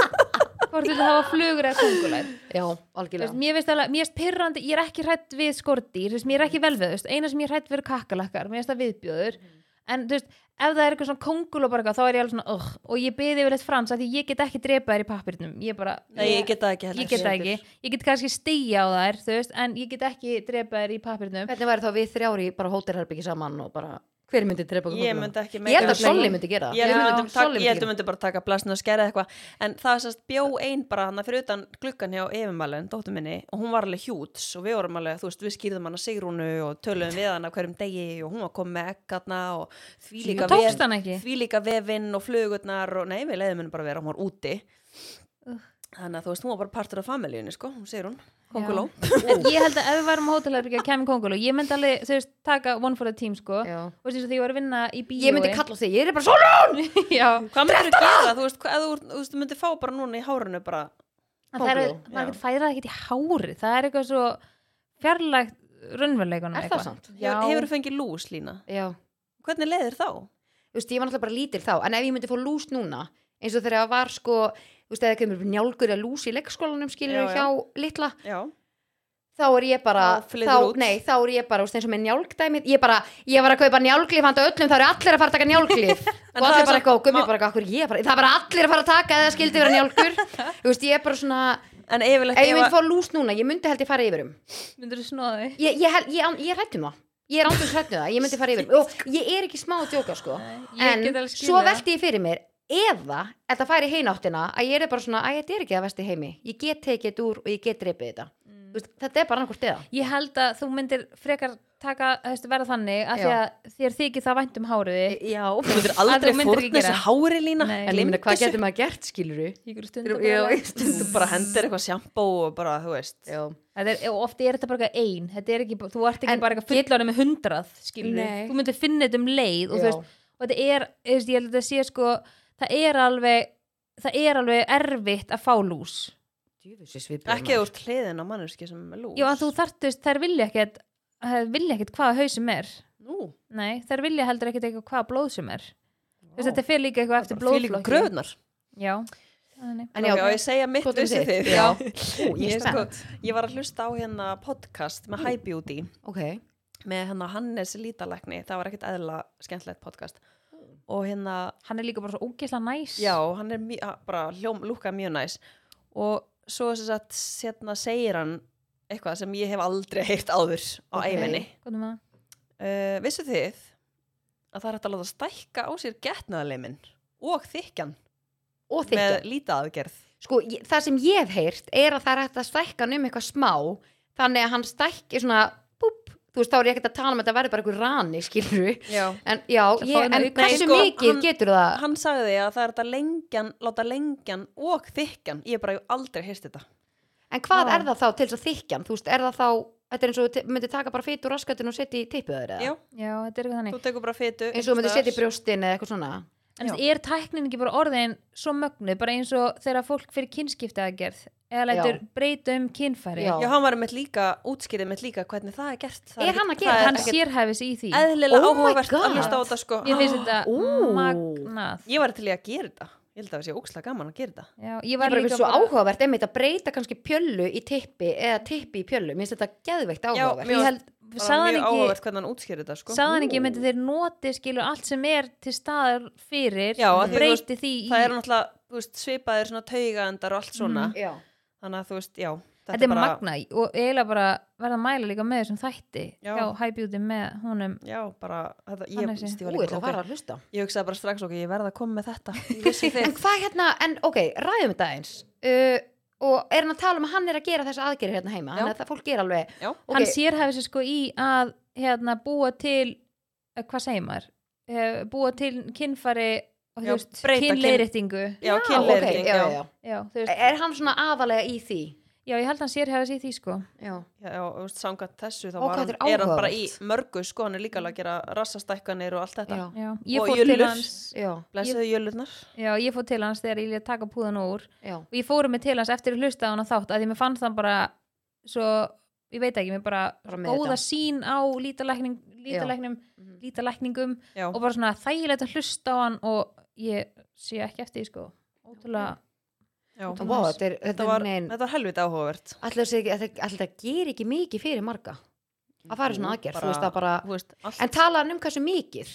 hvort viltu hafa flugur eða kongulær já, Þú veist, algjörlega mér finnst alveg, mér finnst pyrrandi ég er ekki hrætt við skordýr, þú veist, mér er ekki vel við þú veist, eina sem ég er hrætt við er kakkalakkar, mér finnst það viðbjöður Mm. en þú veist, ef það er eitthvað svona kongul og bara eitthvað, þá er ég alveg svona, ugh, og ég byði yfirleitt frans að því ég get ekki drepa þær í pappirnum ég bara, nei, ég get það ekki ég heldur get það ekki ég get kannski stíja á þær, þú veist en ég get ekki drepa þær í pappirnum hvernig væri þá við þrjári bara hótelherbyggi saman og bara, hver myndi drepa ég myndi ekki Ég held að meika- Solli myndi gera það. Ég held Já, að við myndum Solli taka- myndi ég held að gera myndum bara taka blasinu að skera eitthvað en það er sérst bjó ein bara hann fyrir utan gluggan hjá Efumalen, dóttur minni og hún var alveg hjúts og við vorum alveg, þú veist, við skýrðum hana Sigrúnu og töluðum við hana á hverjum degi og hún var komið með ekkarna og því líka, Og tókst hann ekki? því líka vefinn og flugurnar og nei, við leiðum henni bara vera, hún var úti þannig að þú veist, hún var bara partur af familíunni, sko, hún Sigrún, konguló en ég held að ef við varum á hótelherbyggja kemum kongul og ég myndi alveg, þú veist, taka one for the team sko, Já. og þú veist, eins og því ég var að vinna í bíói ég myndi kalla á þig, ég er bara Solon já, Hvað myndir þú gera, þú veist, hvað- ef þú, þú veist, þú myndir fá bara núna í hárunu bara en það er, Kónguló, maður ekkert færa það ekkert í hári það er eitthvað svo fjarlægt raunveruleikunum er það sant? Já, Hefur þú fengið lús, Lína? já, Hvernig leiðir þá? þú veist, ég var náttúrulega bara lítil þá en ef ég myndi fór lús núna eins og þegar það var sko, þú veist, eða kemur upp njálgur eða lús í leikskólanum skilur Já, já. hjá litla Já. þá er ég bara Þá flyður út. nei, þá er ég bara, þú veist, eins og með njálgdæmið ég, bara, ég var að kaupa njálglif handa öllum þá eru allir að fara að taka njálglif og það er allir bara samt- eitthvað, og gummi má- bara eitthvað, af hverju ég bara, það er bara allir að fara að taka eða skildi vera njálgur þú veist, ég er bara svona En yfirleitt ef ég ef myndi að- fá lús núna, ég myndi held ég fara yfir um myndur þú snóða þig? ég, ég, hel- ég, ég, ég rættum það ég er ándum hrættu það, ég myndi fara yfir um. og ég er ekki smá að djóka sko Nei, ég en get alveg skilið svo það. velti ég fyrir mér eða þetta færi í heináttina að ég er bara svona, að þetta er ekki það vesti heimi ég get tekið þetta úr og ég get dreipið þetta Þú veist, þetta er bara annarkvort eða Ég held að þú myndir frekar taka, þú veist, verða þannig að, því Já. að þér þykir það vænt um hárið þitt. já, Þú myndir Að þú aldrei myndir fórna ekki þessi gera. hári lína Nei. en ég myndi hvað getur maður gert skilur Ég getur stundum bara- þú Þú bara hendir eitthvað sjampó og bara, þú veist Þetta er, og ofta er þetta bara eitthvað ein þetta er ekki, þú ert ekki En bara eitthvað fullorðin með hundrað skilur Nei. þú myndir finna þetta um leið og, þú Já. veist, og þetta er, þú veist, ég held að þetta sé sko það er alveg það er alveg erfitt að fá lús Ekki ef þú ert hliðin á manneski sem er lús já en þú þarft, þú veist, þær vilja ekkert þær vilja ekkert hvaða haus sem er Nú, nei, þær vilja heldur ekkert eitthvað hvaða blóð sem er þú veist, þetta fer líka eitthvað eftir því líka blóðflokki gröðnar já, þannig en Já, já, ég segja mitt skotum vissi þitt. þið Já. Ú, ég er sko, ég var að hlusta á hérna podcast með High Beauty ok með hérna Hannes Lítalekni það var ekkert eðla skemmtilegt podcast og hérna hann er líka bara svo ógeðslega næs Já, hann er mjö, bara hljóm, lúka mjög næs og svo sem sagt hérna segir hann eitthvað sem ég hef aldrei heyrt áður á Ok. okay. æminni Hvað er með það? uh, Vissu þið að það er hægt að láta stækka á sér getnaðarleimin og þykjan og þykja með lítaaðgerð sko, ég- það sem ég hef heyrt er að það er hægt að stækka hann um eitthvað smá þannig að hann stækki svona búp, þú veist, þá er ég ekkert að tala um að þetta verður bara einhver rani, skilur Já en já, Það fá ég, hérna en auka- hversu Nei, sko, mikið hann- getur það Hann sagði að það er hægt að lengjan, láta lengjan og þykjan ég hef bara aldrei heyrt þetta en hvað Já. er það þá til þess að þykjan, þú veist, er það þá þetta er eins og þú te- myndir taka bara fytu úr raskatin og setja í teipu þeir Já, eða, Já, þetta er eitthvað þannig þú tekur bara fytu eins og þú myndir einhvers setja í brjóstin eða eitthvað svona En þú veist, er tæknin ekki bara orðin svo mögnuð, bara eins og þegar fólk fyrir kynskipta að gerð, eða lætur Já. breyta um kynfæri. Já. staðar. Já, hann var með líka, útskýrið með líka hvernig það er gert Það Er hann að ekkert- gera það er Hann ekkert- sérhæfis í því. eðlilega Oh my áhugavert God. að hlusta á þetta sko Ég finnst þetta Ú. magnað. ég var til í að gera þetta ég held að það sé ókslega gaman að gera þetta Já, ég Ég var bara líka finnst svo áhugavert, einmitt að breyta kannski pjöllu í tippi eða tippi í pjöllu, minnst þetta geðveikt áhugavert. mjög- Ég held, Bara sagðan mjög ekki, áhugavert hvernig hann útskýrði þetta sko sagðan ekki, Ú. myndi þeir noti skilur allt sem er til staðar fyrir, Já, og af því þú breyti því í... það er náttúrulega þú veist, svipaðir svona taugaendar og allt svona Mhm. Já. þannig að þú veist, já Þetta er magnað og eiginlega bara verða að mæla líka með þessum þætti Já. hjá High Beauty með honum. já, bara þetta, ég, Hannes, veist, ég, Ú, var ég líka, ætla að fara okay, að hlusta. ég hugsaði bara strax ok, ég verð að koma með þetta Ég vissi En þig. hvað hérna, en ok, ræðum þetta eins uh, og er hann að tala um að hann er að gera þessa aðgerið hérna heima, Já. þannig að það fólk ger alveg já, ok, hann sérhæfi sér sko í að hérna, búa til eh, hvað segir maður, Eh, búa til kynfari og þú Já, veist breyta kyn- já, kynleiðréttingu Eh. já, Ah, ok, kynleiðring já, já, já. já, þú veist, er hann svona aðalega í því já, ég held hann sérhæfi sér í því sko já, já, já, þú veist, sangat þessu þá Ó, var hvað hann, þetta er er hann bara í áhugavert. mörgu sko, hann er líka alveg að gera rassastækkanir og allt þetta já, já, ég Og fór til jullur. hans já, blessuðu jölurnar já, ég fór til hans þegar ég lét taka púðan úr já. og ég fórum mig til hans eftir að hlusta á hann þátt að því mér fannst hann bara svo, ég veit ekki, mér bara, Bara með góða þetta. sín á lítalækning, lítalæknum Mhm. lítalækningum já, og bara svona þægilegt að hlusta á hann og ég sé ekki eftir því sko ótrúlega já. Og Vá, þetta er, þetta þetta var, er negin þetta var helviti áhugavert alltaf þetta ger ekki mikið fyrir marga að fara í svona Jú, aðgerð, bara- þú veist að bara þú veist, allt en tala hann um hversu mikið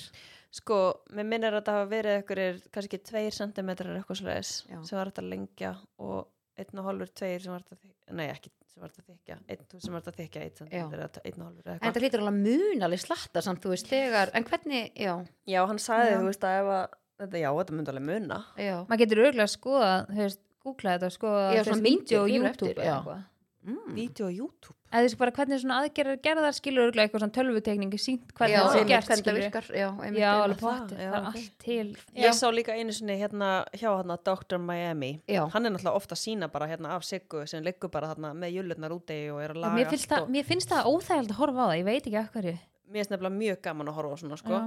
sko, mér minnir að það hafa verið ekkur er kannski 2 cm eitthvað svo leiðis Já. sem var hægt að lengja og 1,5 2 sem var hægt að þykja nei ekki sem var hægt að þykja 1 sem var hægt að þykja 1 cm Já. eða 1,5 en eitthvað þetta hlýtur alveg munalið slatta samt, þú veist, þegar, en hvernig já, já, hann sagði Já. þú veist að ef að þetta, já, þetta myndi alveg muna já, maður getur örgulega að skoða þú veist, googla þetta og skoða Já, þú svona veist, vídeó á myndir fyrir YouTube eftir, eða já. eitthvað. mm. vídeo á YouTube eða þú veist bara hvernig svona aðgerðar gerðar skilur örgulega eitthvað svona tölvutekningi sínt hvernig já, það sé einmitt, gert hvernig það skilur virkar já, einmitt, já, einmitt. alveg pottir, Já, það er ok. allt til ég sá líka einu sinni hérna hjá hérna Dr. Miami já, hann er náttúrulega ofta sína bara hérna af siggu sem liggur bara hérna með jölurnar úti og er að laga mér, finnst allt það, og, mér finnst það óþægild að horfa á það ég veit ekki af hverju mér finnst nefnilega mjög gaman að horfa á svona sko Já.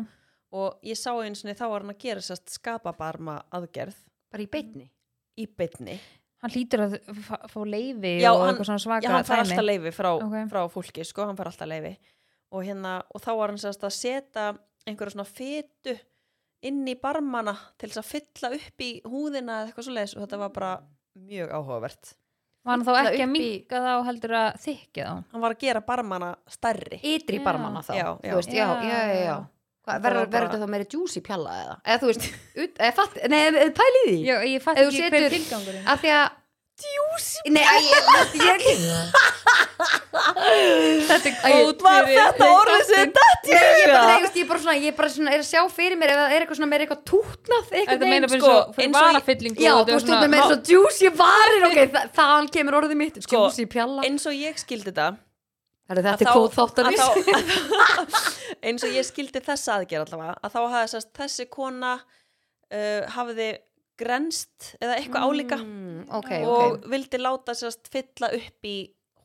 og ég sá einu sinni þá var hann að gera sérst skapabarma aðgerð bara í beinni í beinni hann hlýtur að fa- fá leifi Já, og hann- eitthvað svona já, svaka hann fær dæmi. alltaf leifi frá, Ok. frá fólki sko, hann fær alltaf leifi og, hérna, og þá var hann sérst að setja einhverja svona fytu inn í barmana til þess að fylla upp í húðina eða eitthvað svo leiðis og þetta var bara mjög áhugavert var hann þá Illa ekki að upp í- minka þá heldur að þykja þá Hann var að gera barmana stærri. ytri Já. barmana þá Já, já. þú veist, já, já, já, já. Hvað, Það verður var bara- verður þetta þá meira juicy pjalla eða eða þú veist, ut, eða fatt, nei, eða pæli því Já, ég fatt Ef þú ekki hver setur- tilgangurinn af því að juicy nei, að ég, að ég, Þetta er Æ, góð Var þetta orðið sem datt í ég, bara, nei, huga? þú veist, ég, bara svona, ég bara svona er að sjá fyrir mér ef það er eitthvað svona meira eitthvað tútnað eitthvað Þetta meina bara sko, eins og fyrir eins og í- varafyllingu já, og þú þetta er veist, þú svona- veist, meira svona juicy varir ok, þa þaðan kemur orðið mitt Sko, juicy pjalla Eins og ég skildi þetta, Herra, að þetta þá- er kvóð þáttan að þá- að þá- eins og ég skildi þessa aðgerð allavega að þá hafði sest, þessi kona uh, hafði grenst eða eitthvað álíka Mm. ok, og ok vildi láta sérst fylla upp í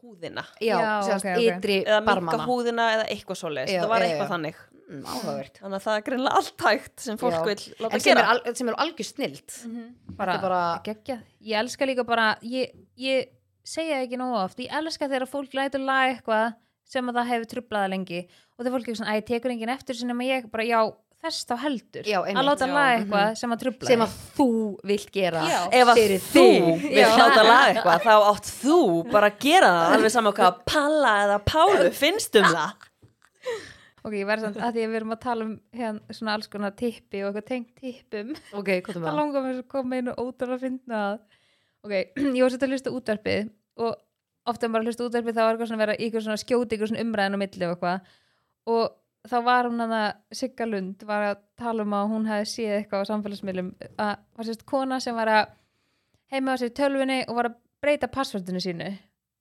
húðina já, Já, sérst, ok, ok. ytri eða minka barmana húðina eða eitthvað svoleiðis Já, það var já, eitthvað já. þannig Mm, áhugavert þannig að það er greinlega allt hægt sem fólk Já. vil láta en sem er, gera al, sem er algjör snilt bara, Þetta er bara- Mhm. geggjað ég elska líka bara ég, ég segja það ekki nógu oft ég elska þegar fólk lætur laga eitthvað sem að það hefur trublaða lengi og þegar fólk er svona, að ég tekur enginn eftir sinni að ég bara, já, þess þá heldur Já, einmitt. að láta Já, laga eitthvað sem að trubla sem þig. að þú vilt gera Já. ef að fyrir þú þig. vil Já. láta laga eitthvað þá átt þú bara að gera það alveg saman hvað Palla eða Pálu finnst um það ok, ég verð samt að því að við erum að tala um hérna svona alls konar tippi og eitthvað tengt tippum ok, hvað það það? langar mér svo að koma inn og ótrúlega að finna það ok, ég var svolítið að hlusta á útvarpið og ofta bara að hlusta á útvarpið þá var eitthvað svona að vera í eitthvað svona skjóti eitthvað svona umræðin á milli og eitthvað og þá var hún að Sigga Lund var að tala um að hún hefði séð eitthvað á samfélagsmiðlum að var sérst kona sem var að heima á sér tölvunni og var að breyta passvöldinu sínu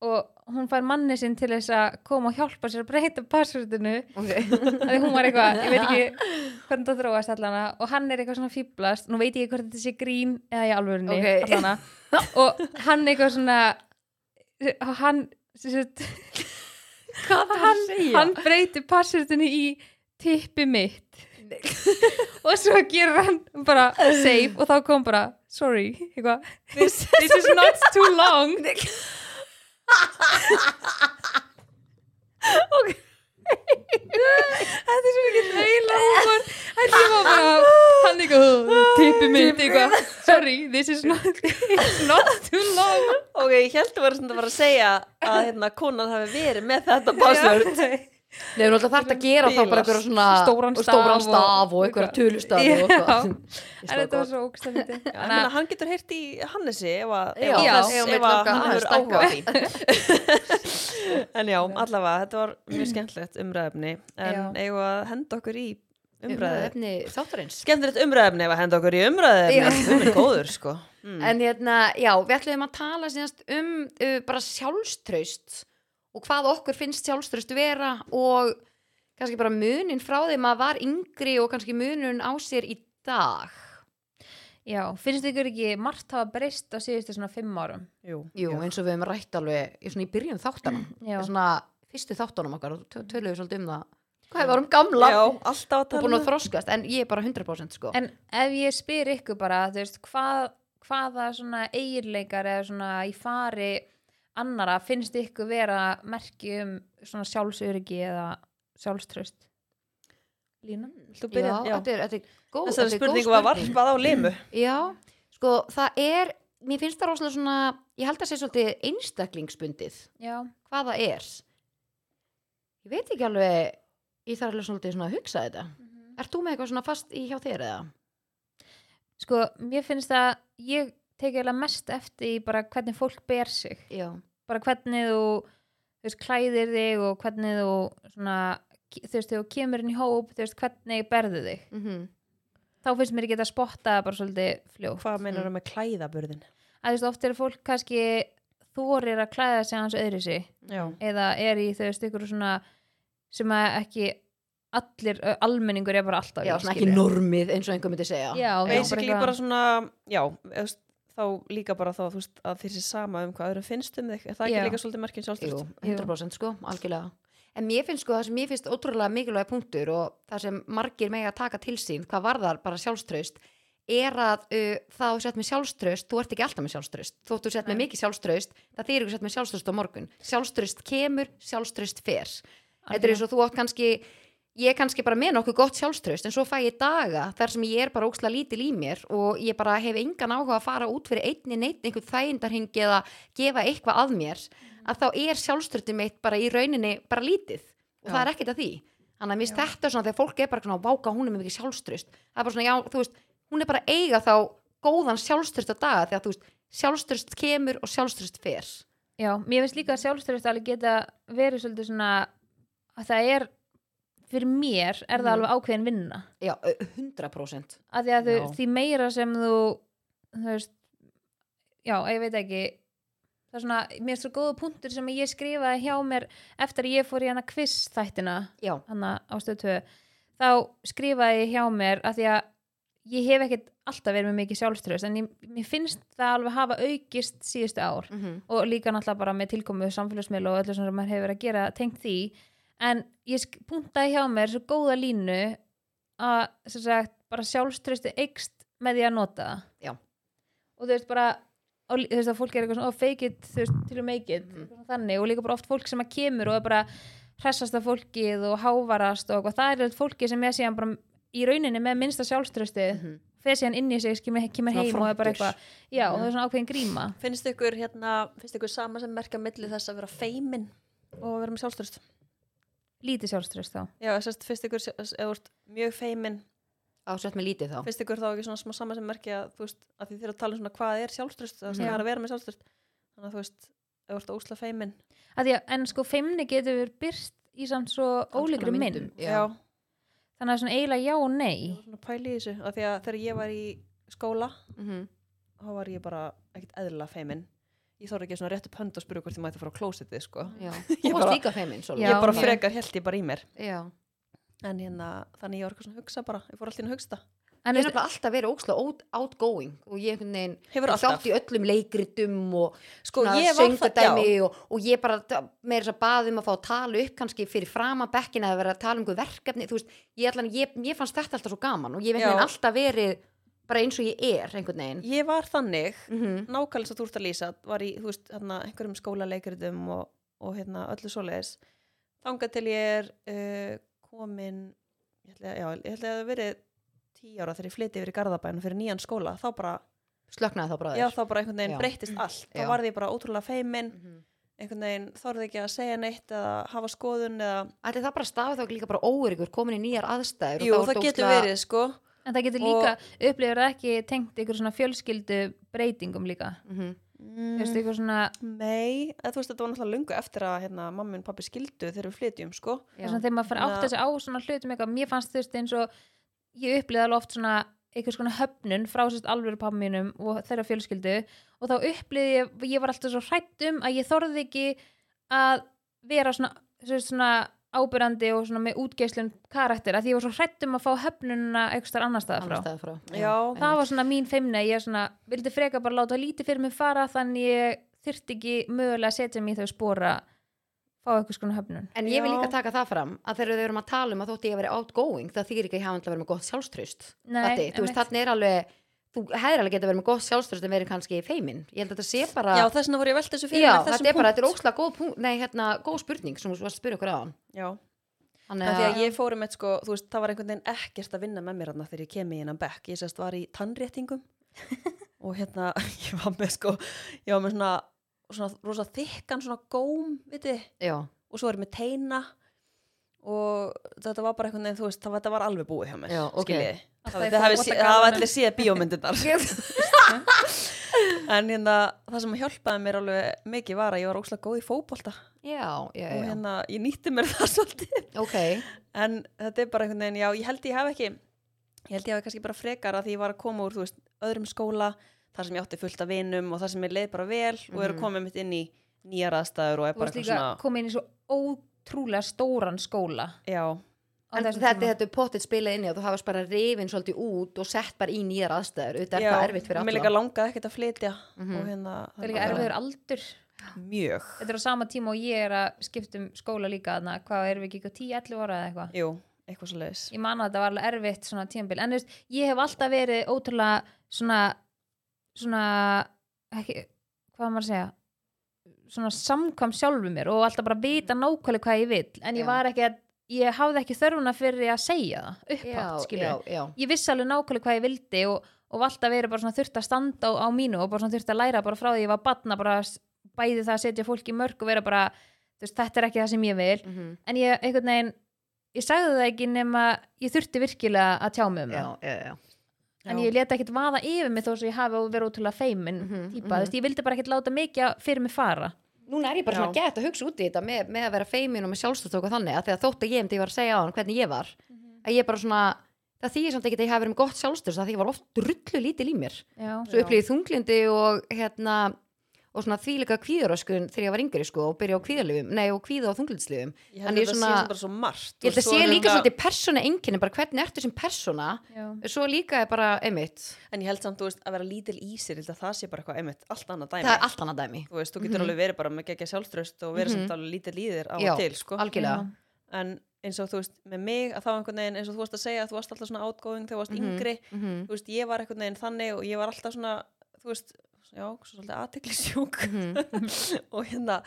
og hún fær manni sinn til þess að koma og hjálpa sér að breyta passvöldinu Okay. að því hún var eitthvað, ég veit ekki hvernig það þróast allana og hann er eitthvað svona fýblast, nú veit ég ekki hvort þetta sé grín eða í alvörunni Ok. allana og hann eitthvað svona hann sem sagt, hvað það hann, að segja? hann breytir passvöldinu í tippi mitt og svo gerur hann bara save og þá kom bara sorry, eitthvað this, this is not too long þetta er svo ekki leila húmor en ég var bara hann eitthvað, tippi mitt eitthvað sorry, this is not, it's not too long ok, ég held að vera svona að fara að segja að hérna, konan hafi verið með þetta passvörd Nei, hún alltaf þarf að gera þá bara eitthvað svona Stóran og staf stóran og- staf og eitthvað tölustaf Já. og eitthvað. Ég en sló þetta var gott. svo ógstændi Ég meina, hann getur heyrt í Hannesi ef að ef Já, að já, þess- ef að ef mitt að langar hann að hefur stækka. áhuga á því en já, allavega, þetta var mjög skemmtilegt umræðefni en Já. eigum við að henda okkur í umræðefni Umræðuefni þáttarins. skemmtilegt umræðefni ef að henda okkur í umræðefni það er góður sko En hérna, já, við ætlum að tala síðast um uh, bara sjálfströst og hvað okkur finnst sjálfströst vera og kannski bara munin frá þeim að var yngri og kannski munun á sér í dag. já, finnst ykkur ekki margt hafa breyst á síðustu svona fimm árum Jú. Jú, eins og við hefum rætt alveg í, svona, í byrjun þáttanum, já, svona fyrstu þáttanum okkar, og tö- töluðum við svolítið um það. Hvað hefur um gamla? Mm. já, alltaf að og tala búin að um- þroskast, en ég er bara 100% sko. en ef ég spyr ykkur bara þú veist, hvað, hvaða svona eiginleikar eða svona í fari annara finnst ykkur vera merki um svona sjálfsöryggi eða sjálfströst Lína? Viltu byrja? já, Já. Þetta, er, þetta er þessari góð þetta er góð spurningu var varpað á limu Já, sko, það er, mér finnst það rosalega svona, ég held að sé svolítið einstaklingsbundið, Já, hvað það er. Ég veit ekki alveg, ég þarf alveg svolítið svona að hugsa þetta. Ert þú með eitthvað svona fast í hjá þér eða? sko, mér finnst að ég tekið alveg mest eftir í bara hvernig fólk ber sig Já, bara hvernig þú, þú veist, klæðir þig og hvernig þú svona, þú veist, þegar þú kemur inn í hóp þú veist, hvernig berðu þig mm þá finnst mér ekki þetta að spotta bara svolítið fljótt hvað Mm. meinar það með klæðaburðin að þú veist, oft er fólk kannski þorir að klæða sig hans öðru sig Mm. já, eða er í þau veist ykkur svona sem að ekki allir ö, almenningur er bara alltaf í, já svona ekki skilurðu. normið eins og einhver myndi segja. Já, basically eitthvað- bara svona já, eða þú veist, þá líka bara þá þú veist, að þér sé sama um hvað öðrum finnst um þig er það Já. ekki líka svolítið merkjum Jú, sjálfstyrst 100% sko, algjörlega En mér finnst sko það sem mér finnst ótrúlega mikilvæg punktur og það sem margir megi að taka til sín hvað varðar bara sjálfströst er að uh, það þú sett með sjálfströst þú ert ekki alltaf með sjálfströst þótt þú sett með Nei. mikið sjálfströst það þýr ekki sett með sjálfströst á morgun sjálfströst kemur, sjálfströst fer Þetta er eins og þú átt kannski ég er kannski bara með nokkuð gott sjálfströst en svo fæ ég daga þar sem ég er bara óksla lítil í mér og ég bara hef engan áhuga að fara út fyrir einni neitt einhvern þægindarhingi eða gefa eitthvað að mér að þá er sjálfströstum mitt bara í rauninni bara lítið og Já. það er ekkert að því þannig að mér finnst þetta svona þegar fólk er bara svona váka hún er með mikið sjálfströst það er bara svona já þú veist hún er bara að eiga þá góðan sjálfströst að daga þegar þú veist sjálfströst kemur og sjálfströst fer Já, mér finnst líka að sjálfströst alveg geta verið svolítið svona að það er, fyrir mér er það Mhm. alveg ákveðin vinna já 100% að því að Já. þau, því meira sem þú þú veist já, ég veit ekki það er svona, mér er svo góða punktur sem ég skrifaði hjá mér eftir að ég fór í hana quiz þættina, já hana á stöðtöðu þá skrifaði ég hjá mér að því að ég hef ekkert alltaf verið með mikið sjálfströðs en ég, mér finnst það alveg hafa aukist síðustu ár mm og líka náttúrulega bara með tilkomu samfélagsmiðl og öllu svona sem maður hefur verið að gera tengt því en ég sk- punktaði hjá mér svo góða línu að sem sagt bara sjálfströsti eikst með því að nota það Já. og þú veist bara og lí- þú veist að fólk er eitthvað svona oh, fake it þú veist til og make it Mhm. mm. þannig og líka bara oft fólk sem að kemur og er bara hressasta fólkið og hávarast og eitthvað. það er eitthvað fólki sem ég sé hann bara í rauninni með minnsta sjálfströstið mm. -hmm. fer síðan inn í sig, kemur, kemur Svona heim og er bara frontur. eitthvað já, og það er svona ákveðin gríma Finnst ykkur, hérna, finnst ykkur sama sem merka milli þess að vera feimin og vera með sjálfströst? lítið sjálfströst þá Já, sérst, finnst ykkur, sjá- eða þú ert mjög feimin, ásett með lítið þá finnst ykkur þá ekki svona smá sama sem merki að, þú veist, að þið þurfa að tala um svona hvað er sjálfströst, það Já. er að vera með sjálfströst. Þannig að þú veist, eða þú ert ósla feimin. að að, en sko feimni getur verið byrst í samt svo konar ólíkri myndum, mynd Já. þannig að svona eiginlega já og nei Ég var svona að pæla í þessu, af því að þegar ég var í skóla, mm -hmm. þá var ég bara ekkert eðla feimin. Ég þóra ekki svona rétt upp hönd og spyrja hvort ég mætti að fara á klósitið, sko. Já, Ég þú varst bara- líka feimin Já, ég bara já. frekar held ég bara í mér. Já. En hérna, þannig ég var eitthvað svona að hugsa bara, ég fór alltaf inn að hugsa það. en Ég er veist, nefnilega alltaf verið ókslega out, outgoing og ég einhvern veginn Hefur tók alltaf. þátt í öllum leikritum og Sko, svona ég var það, já. söngadæmi og, og ég bara t- meira þess að baði um að fá að tala upp kannski fyrir frama bekkin að vera að tala um einhver verkefni þú veist, ég, allan, ég, ég fannst þetta alltaf svo gaman og ég hef Já. einhvern veginn alltaf verið bara eins og ég er einhvern veginn Ég var þannig, mm nákvæmlega svo þú ert að lýsa, var í, þú veist, hérna, einhverjum skólaleikurðum og, og hérna, öllu svoleiðis. Þangað til ég er uh, komin, ég ætla, já, ég ætla að það verið tíu ára þegar ég flyti yfir í Garðabæn fyrir nýjan skóla, þá bara, slöknaði þá bara já, þá bara einhvern Já. veginn breyttist allt. Þá Já. varði ég bara ótrúlega feimin, mm -hmm. einhvern veginn þorði ekki að segja neitt eða hafa skoðun eða, Ætli það bara stafið þá líka bara óöryggur komin í nýjar aðstæður jú, og þá það getur verið, sko. en það getur og- líka upplifur það ekki tengt ykkur svona fjölskyldu breytingum líka mm -hmm. mm. veist, ykkur svona, Nei, eða, þú veist, þetta var náttúrulega lungu eftir að hérna, mamma og pappi skildu þegar við flytjum, sko. það er svona þegar maður fara átt Þannig þessi á svona hlutum eitthvað, mér fannst þú veist eins og ég upplifði alveg oft svona einhvers konar höfnun frá sérst alvöru pappa mínum og þeirra fjölskyldu og þá upplifði ég, ég var alltaf svo hrætt um að ég þorði ekki að vera svona, sérst, svona ábyrrandi og svona með útgeislun karakter að því ég var svo hrætt um að fá höfnununa einhvers þar annar staðar frá annar staðar frá Já. það var svona mín feimni að ég svona vildi freka bara láta lítið fyrir mig fara þannig ég þyrfti ekki mögulega að setja mig í þau spora fá eitthvað skona höfnun En ég vil Já. líka taka það fram að þegar við erum að tala um að þótti ég að vera outgoing það þýr ekki að ég hafa alltaf verið með gott sjálfströst Nei, Matti, þú veist, einmitt. þannig er alveg þú hefur alveg geta verið með gott sjálfströst en verið kannski feimin, ég held að þetta sé bara Já, þess vegna voru ég velt þessu fyrir Já, mér, þessum þetta er bara, punkt. þetta er ósla góð punkt nei, hérna, góð spurning sem þú varst að spyrja okkur á hann Já, Þannig af því að að, ég fórum með sko, þú veist, það var einhvern veginn ekkert að vinna með mér þarna þegar ég kem í hennan bekk. Ég sérst var í tannréttingum og hérna, ég var með sko, ég var með svona, svona rosa þykkan svona góm, viti, já, og svo var ég með teina og þetta var bara einhvern veginn, þú veist, það, þetta var alveg búið hjá mér, Já, ok. skiljiði. Alltaf Það í það hafi sé- það fótboltagallanum. hafa allir séð bíómyndirnar. en hérna, það sem hjálpaði mér alveg mikið var að ég var óslega góð í fótbolta já, já, og já, hérna, ég nýtti mér það svolítið. ok en þetta er bara einhvern veginn, já, ég held ég hef ekki ég held ég hef kannski bara frekar að því ég var að koma úr, þú veist, öðrum skóla þar sem ég átti fullt af vinum og þar sem ég leið bara vel og er Mhm. að koma mitt inn í nýjar aðstæður og er þú bara veist eitthvað líka svona komið inn í svo ótrúlega stóran skóla já, á En þessum þetta, tíma. þetta er pottitt spilað inni og þú hafast bara rifin svolítið út og sett bara í nýjar aðstæður auðvitað er já, það erfitt fyrir mér alla líka langaði ekkert að flytja Mhm. og hérna, það er líka erfiður aldur mjög, þetta er á sama tíma og ég er að skipta um skóla líka þarna, hvað erum við ekki á 10-11 ára eða eitthvað jú, eitthvað svo leiðis ég man að þetta var alveg erfitt svona tímabil en þú veist, ég hef alltaf verið ótrúlega svona svona ekki, hvað á maður að segja svona samkvæm sjálfu mér og alltaf bara vita nákvæmlega hvað ég vil en ég Já. var ekki að ég hafði ekki þörfuna fyrir að segja það upphátt, skilur já, já, ég vissi alveg nákvæmlega hvað ég vildi og, og valda að vera bara svona þurft að standa á, á mínu og bara svona þurft að læra bara frá því ég var batna bara s- bæði það að setja fólk í mörg og vera bara, þú veist, þetta er ekki það sem ég vil mm en ég einhvern veginn ég sagði það ekki nema ég þurfti virkilega að tjá mig um já, það já, já. en ég leta ekkit vaða yfir mig þó svo ég hafi verið ótrúlega feimin mm Mhm, típa, þú mhm. veist, ég vildi bara ekkit láta mikið að- fyrir mig fara Núna er ég bara svona gett að hugsa út í þetta með, með að vera feimin og með sjálfstöðtök og þannig að þegar þótt að ég myndi ég var að segja á hann hvernig ég var að ég bara svona, það þýðir samt ekki að ég hafi verið með gott sjálfstöð það því ég var oft drullu lítil í mér já, svo upplýði þunglindi og hérna og svona þvíleika kvíðuröskun þegar ég var yngri sko og byrja á kvíðalifum, nei og kvíða á þunglindslifum Ég Þannig held að þetta svona- sé sem bara svo margt. ég held og að svo sé er hérna- líka þetta- svolítið persóna enginn bara hvernig ertu sem persóna já. svo líka er bara, einmitt, En ég held samt, þú veist, að vera lítil í sér, ég held að það sé bara eitthvað, einmitt, allt annað dæmi. það er allt annað dæmi Þú veist, þú getur Mhm. alveg verið bara með gegja sjálfströst og verið samt Mhm. alveg lítil í þér á Já, og til, sko. algjörlega, En eins og þú veist, með mig, að þá einhvern veginn, eins og þú varst að segja, að þú varst alltaf svona outgoing þegar þú varst Mhm. yngri. Mhm, Þú veist, ég var einhvern veginn þannig og ég var alltaf svona, þú veist, já, svolítið aðteglisjúk mhm, og hérna,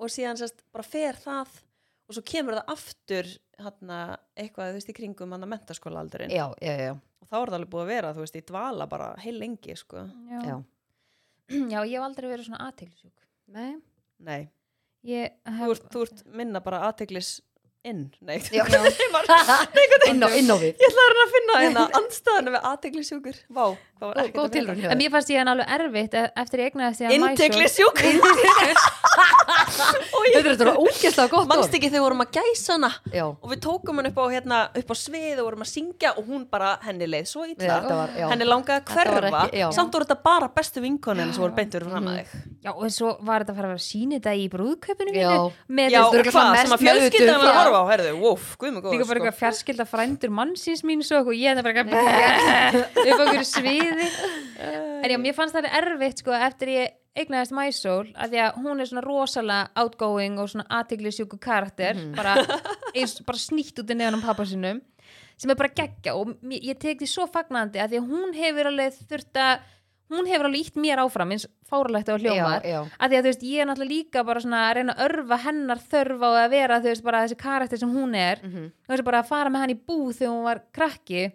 og síðan sérst, bara fer það og svo kemur það aftur, hérna, eitthvað, þú veist, í kringum, hann að mentaskóla já, já, já, já, og þá er það alveg búið að vera, þú veist, í dvala bara heil lengi, sko. Já. já. já, ég hef aldrei verið svona aðteglisjúk Nei. Nei, ég þú hef ert, þú ert minna bara aðteglis inn, nei, ég Já. var ég inn á, inn á við ætla að reyna að finna hérna andstæðan við aðteglisjúkur, vá, það var ekkert góð að finna. tilraun En mér fannst ég hann alveg erfitt e- eftir ég egnaði því að Innteglisjúk, Þetta er þetta ógeðslega gott mannst ekki þegar við vorum að gæsa hana orð Já, og við tókum hann upp á, hérna, upp á svið og vorum að syngja og hún bara henni leið svo illa. þetta var, já Henni langaði að Þetta var hverfa, ekki- já. samt voru þetta bara bestu vinkonin sem voru beintur fram að þig. Já, og svo var þetta að fara að vera síni þetta í brúðkaupinu Já. mínu með Já, þú veist, örugglega hvað, sem svona að mest meðvituð, fjölskyldan var að já. horfa á, herðu, wow, guðmur góður, líka bara sko. eitthvað fjarskilda frændur mannsins mín svo og ég er það bara eitthvað upp á hverju sviði En já, mér fannst það erfitt sko eftir ég eignaðist Mæsól að því að hún er svona rosalega outgoing og svona aðteglisjúku karakter Mhm. bara, eins, bara snýtt út í neðan um pappa sinum sem er bara geggja og mér, ég tek því svo fagnandi að því að hún hefur alveg þurft að hún hefur alveg ítt mér áfram eins fáralegt og hljómar Já, já. að því að þú veist, ég er náttúrulega líka bara svona að reyna að örfa hennar þörf á að vera þú veist, bara þessi karakter sem hún er mm Mhm. -hmm. og þessi bara að fara með hann í búð þegar hún var krakki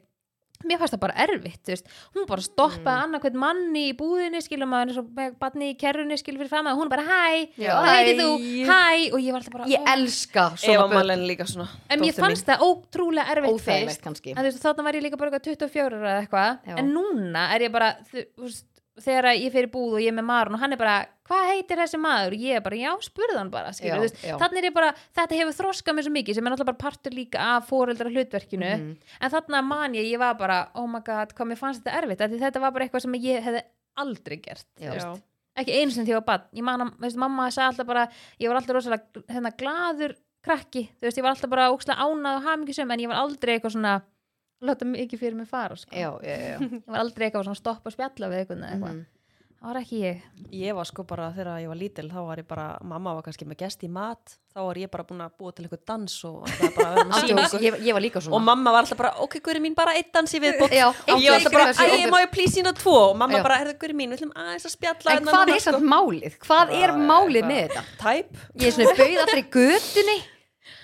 mér fannst það bara erfitt, þú veist hún bara stoppaði mm. annað hvern manni í búðinni skilum að hann er svo með barni í kerrunni skilum fyrir fram að hún bara hæ, Já. hvað heiti þú, Hæ. hæ og ég var alltaf bara, Ég elska svona Eva börn Malen líka svona en mér dóttir fannst það ótrúlega erfitt fyrst Óþægilegt kannski en þú veist, þarna var ég líka bara eitthvað 24 ára eða Já. eitthvað, en núna er ég bara þú þú veist, þegar að ég fer í búð og ég er með marun og hann er bara, hvað heitir þessi maður og ég er bara, já, spurði hann bara skilur, Já, þú veist, já. þannig er ég bara, þetta hefur þroskað mér svo mikið sem er náttúrulega bara partur líka af foreldra hlutverkinu, Mhm. en þannig man ég ég var bara, oh my god, hvað mér fannst þetta erfitt af því þetta var bara eitthvað sem ég hefði aldrei gert Já. þú veist ekki einu sinni þegar ég var barn ég man að, veist, mamma sagði alltaf bara ég var alltaf rosalega hérna, gladur krakki þú veist, ég var alltaf bara ókslega ánað og hamingisum en ég var aldrei eitthvað svona láta mikið fyrir mig fara sko. Já, já, já Mhm. ég var aldrei eitthvað svona stoppa og spjalla við eitthvað, eitthvað. Mhm. það var ekki ég Ég var sko bara þegar ég var lítil þá var ég bara, mamma var kannski með gest í mat þá var ég bara búin að búa til eitthvað dans og ætlaði bara að vera með Andjóks, síningu ég, ég var líka og svona mamma var alltaf bara, ok, hverju mín bara eitt dans í viðbótt Já, og ég var alltaf bara, æ, má ég plís sína tvo og mamma Já. bara, herðu, hverju mín, við ætlum aðeins að spjalla hérna sko." En hvað er samt málið? Hvað er málið með þetta? Tæp, Ég er svona bauð alltaf í götunni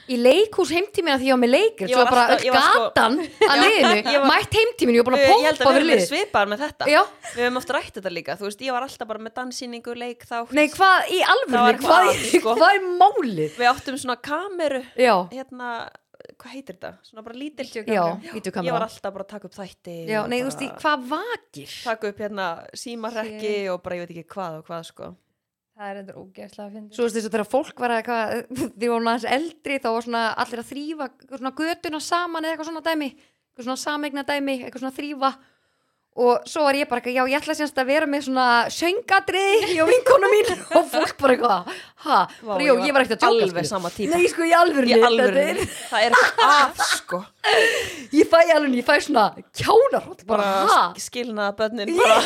Í leikhús heimtímina því ég var með leikur Ég Svo var bara alltaf- öll ég var sko- gatan að liðinu Mætt heimtíminu, ég var búin ég að held að við pompa fyrir höfum verið liðið svipaðar með þetta Já. Við höfum oft rætt þetta líka, þú veist, ég var alltaf bara með danssýningu, leik þá Nei, hvað í Það var alvörinu? eitthvað að, Hvað, er- sko. hvað er málið? Við áttum svona kameru, Já, hérna, hvað heitir þetta? Svona bara lítil já, Ég var vídeokamera alltaf bara að taka upp þætti Já, og nei, þú bara- veist, í- hvað vakir? taka upp hérna símarrekki og bara ég veit ekki hvað og hvað sko það er endur ógeðslega að finna Svo veist þess að þegar fólk var að eitthvað, því voru aðeins eldri þá var svona allir að þrýfa svona götuna saman eða eitthvað svona dæmi eitthvað svona sameigna dæmi, eitthvað svona þrýfa og svo var ég bara eitthvað, já ég ætla semst að vera með svona söngadri og vinkona mín og fólk bara eitthvað ha, Vá, bara, jú, ég var ekkert að djóka alveg skilur. sama típa Nei, sko, í alvörni, í alvörinu, það er eitthvað að sko ég fæ alveg, ég fæ svona kjánarhóll, bara, bara ha skilnaða börnin bara,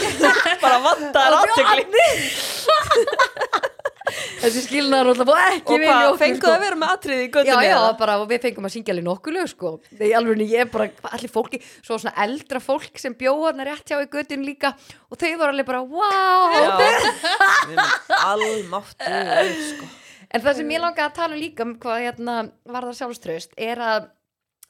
bara vantar aðtegli þessi skilnaðarhóll, það var ekki og vel í hvað, okkur, fenguðu sko. að vera með atriði í já, göttinu já, bara og við fengum að syngja alveg nokkuð lög sko, nei, alveg ég er bara hvað allir fólki, svo svona eldra fólk sem bjóðarna rétt hjá í götin líka og þau voru alveg bara, wow já almáttu sko. En það sem ég langaði að tala líka um hvað hérna, varðar sjálfströst er að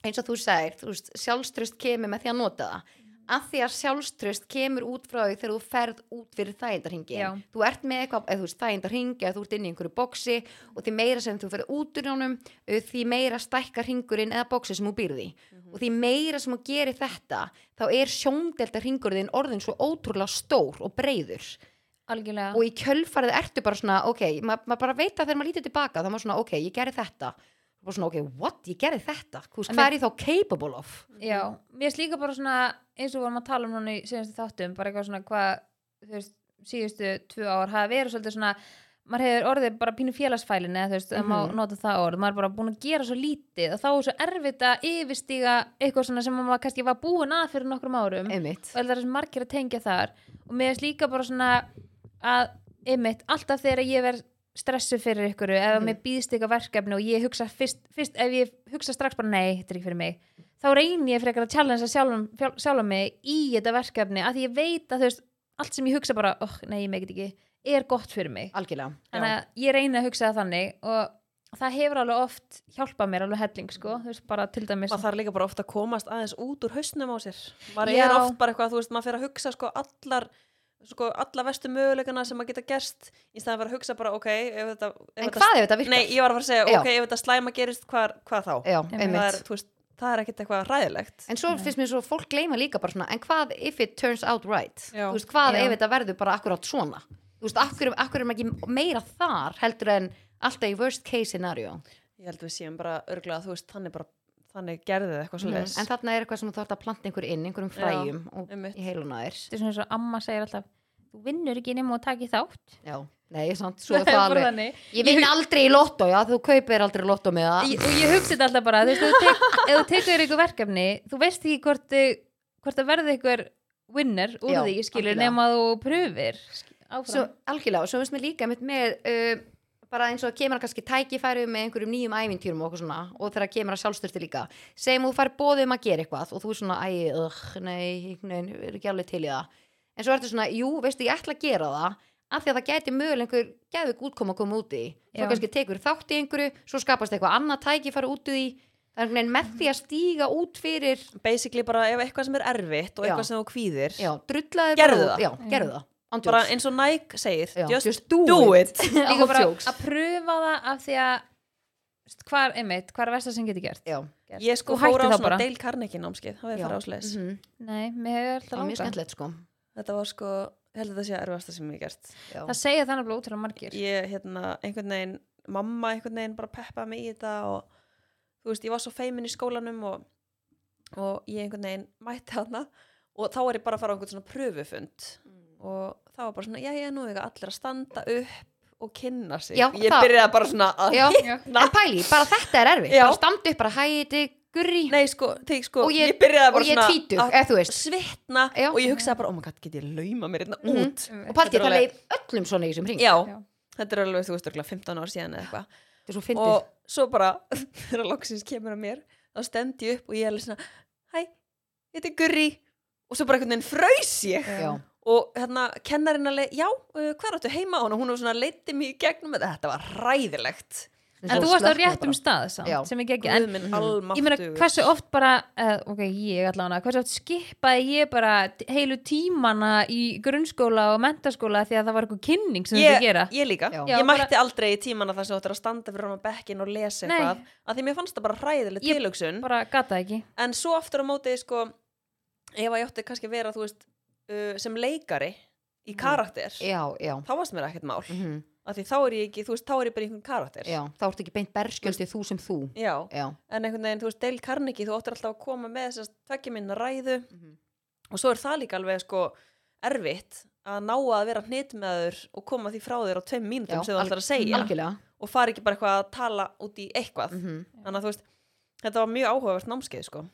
eins og þú segir, þú veist, sjálfströst kemur með því að nota það. Af því að sjálfströst kemur út frá því þegar þú ferð út fyrir þægindarhingi. Já. Þú ert með eitthvað, eða þú veist, þægindarhingi, eða þú ert inn í einhverju boksi og því meira sem þú ferð út úr honum, eh, því meira stækkar hringurinn eða boksi sem þú býrði. Mm Og því meira sem þú gerir þetta, þá er sjóndelta hringurinn orðin svo ótrúlega stór og breyður algjörlega og í kjölfarið ertu bara svona ok, ma- maður bara veit að þegar maður lítið tilbaka þá maður svona ok, ég gerði þetta og svona ok, what, ég gerði þetta Þú veist, En hvað mér- er ég þá capable of Já, mér slíka bara svona eins og vorum að tala um núna í síðustu þáttum bara eitthvað svona hvað þú veist, síðustu tvö ár hafa verið svolítið svona maður hefur orðið bara pínu félagsfælin eða þú veist, mm Mhm. maður nota það orð maður er bara búin að gera svo lítið og þá er svo erfitt að yfirstíga eitthvað svona sem maður kannski var búin að fyrir nokkrum árum einmitt, og það er svo margir að tengja þar og mér er líka bara svona að einmitt, alltaf þegar ég verð stressu fyrir ykkur ef mm. Mhm. mér býðst eitthvað verkefni og ég hugsa fyrst, fyrst ef ég hugsa strax bara nei, þetta er ekki fyrir mig þá reyni ég frekar að challenge sjálfum, fjál- sjálfum mig í þetta verkefni að því ég veit að þú veist, allt sem ég hugsa bara oh, nei, ég megit ekki, er gott fyrir mig algjörlega þannig Já. að ég reyni að hugsa það þannig og það hefur alveg oft hjálpað mér alveg helling sko, þú veist, bara til dæmis maður þarf líka bara ofta að komast aðeins út úr hausnum á sér maður Já. er oft bara eitthvað, þú veist, maður fer að hugsa sko allar, sko alla vestu möguleikana sem maður geta gerst í staðan fyrir að hugsa bara, ok, ef þetta ef en þetta- hvað ef þetta virkar? Nei, ég var að fara að segja, Já. ok, ef þetta slæma gerist, hvað, hvað þá? Já, Einmitt. það er, einmitt. þú veist, það er ekkert eitthvað ræðilegt en svo finnst mér svo að fólk gleyma líka bara svona en hvað if it turns out right Já. Þú veist, hvað Já. ef þetta verður bara akkurát svona Þú veist, akkur, akkur er maður ekki meira þar heldur en alltaf í worst case scenario Ég held við séum bara örgulega, þú veist, þannig bara, þannig gerði þið eitthvað svo Mm, en leis þarna er eitthvað sem þú þarf að planta einhver inn einhverjum fræjum og einmitt. í heiluna þér þetta er svona svo amma segir alltaf þú vinnur ekki nema að taki þátt Já, nei, samt, svo er er það bara alveg þannig. Ég vinn aldrei í lottó, já, þú kaupir aldrei lottó með það ég, og ég hugsi þetta alltaf bara þú veist, ef þú tek- ef þú tekur ykkur verkefni þú veist ekki hvort, þið- hvort það verði ykkur winner úr Já, því, skilur, algjörlega. nema þú pröfir áfram Svo algjörlega, og svo finnst mér líka mitt með uh, bara eins og kemur kannski tækifæri með einhverjum nýjum ævintýrum og okkur svona og þegar kemur að sjálfstyrti líka segjum þú fær boðið um að gera eitthvað og þú er svona, æ, ögh, nei, nein, er ekki alveg til í það en svo ertu svona, jú, veistu, ég ætla að gera það af því að það gæti mögulega einhver geðvik útkoma að koma út í svo Já. kannski tekur þátt í einhverju, svo skapast eitthvað annað tækifæri út í því það er einhvern veginn með því að stíga út fyrir Basically bara ef eitthvað sem er erfitt og Já. eitthvað sem þú kvíðir já, drullaði Gerðu það. já, gerðu það, bara andjóks eins og Nike segir Já, just, just do, do it, líka bara Ándjóks. að pröfa það af því að veist, hvað er einmitt, hvað er versta sem getur gert já, Ég sko Þú fór hættir á þá svona bara. Dale Carnegie námskið, það var ég Já. að fara á slis Mhm. nei, mér hefur það alltaf er mjög langað skemmtilegt sko Þetta var sko, ég held að þetta sé erfasta sem ég hef gert Já. það segja þannig bara útrúlega margir Ég, hérna, einhvern veginn, mamma einhvern veginn bara peppaði mig í þetta og þú veist, ég var svo feimin í skólanum og, og ég einhvern veginn mætti hana og þá er ég bara að fara á einhvern svona pröfufund Mm. og það var bara svona, já, já, nú er allir að standa upp og kynna sig Já, Ég það- byrjaði bara svona að Já. hitna en pæli, bara þetta er erfitt Já. bara standa upp, bara hæti, gurri Nei, sko, þegar sko, Og ég- byrjaði og bara ég er svona tvítug, að eða þú veist svitna Já. og ég hugsaði bara, oh my god, get ég lauma mér hérna Mhm. út og Þetta pæli, ég er tala í alveg- öllum svona í þessum ring Já, Já. þetta er alveg, þú veist, örugglega 15 ár síðan eða eitthvað þetta er svo fyndið og svo bara þegar loksins kemur að mér þá stend ég upp og ég er alveg svona hæ, þetta er Gurri og svo bara einhvern veginn fraus ég Já. og hérna kennarinn alveg, já, uh, hvað áttu heima og hún var svona leiti mig í gegnum þetta, þetta var ræðilegt en þú varst á slökknaði réttum bara. stað samt, Já. sem ég gekk en Guð minn almáttugur ég meina hversu oft bara uh, ok, ég allavega, hversu oft skipaði ég bara t- heilu tímana í grunnskóla og mentaskóla því að það var eitthvað kynning sem ég, þetta gera ég líka, Já. ég Já, bara- mætti aldrei í tímana þar sem þú ættir að standa fyrir hann á bekkin og lesa Nei. eitthvað að því mér fannst það bara hræðileg Ég- tilhugsun bara gata ekki en svo aftur á móti sko, ef að ég átti kannski að vera þú veist, uh, sem leikari Mhm. í karakter, já, já, þá varst mér ekkert mál mhm, af því þá er ég ekki, þú veist, þá er ég bara einhvern karakter já þá ertu ekki beint berskjöldið þú sem þú Já, já, en einhvern veginn, þú veist, Dale Carnegie þú áttir alltaf að koma með þess að tvekja minna ræðu Mhm. og svo er það líka alveg sko erfitt að ná að vera hnitmeður og koma því frá þér á tveim mínútum Já, sem þú ætlar að segja algjörlega og fara ekki bara eitthvað að tala út í eitthvað Mhm. þannig að þú veist, þetta var mjög áhugavert námskeið sko.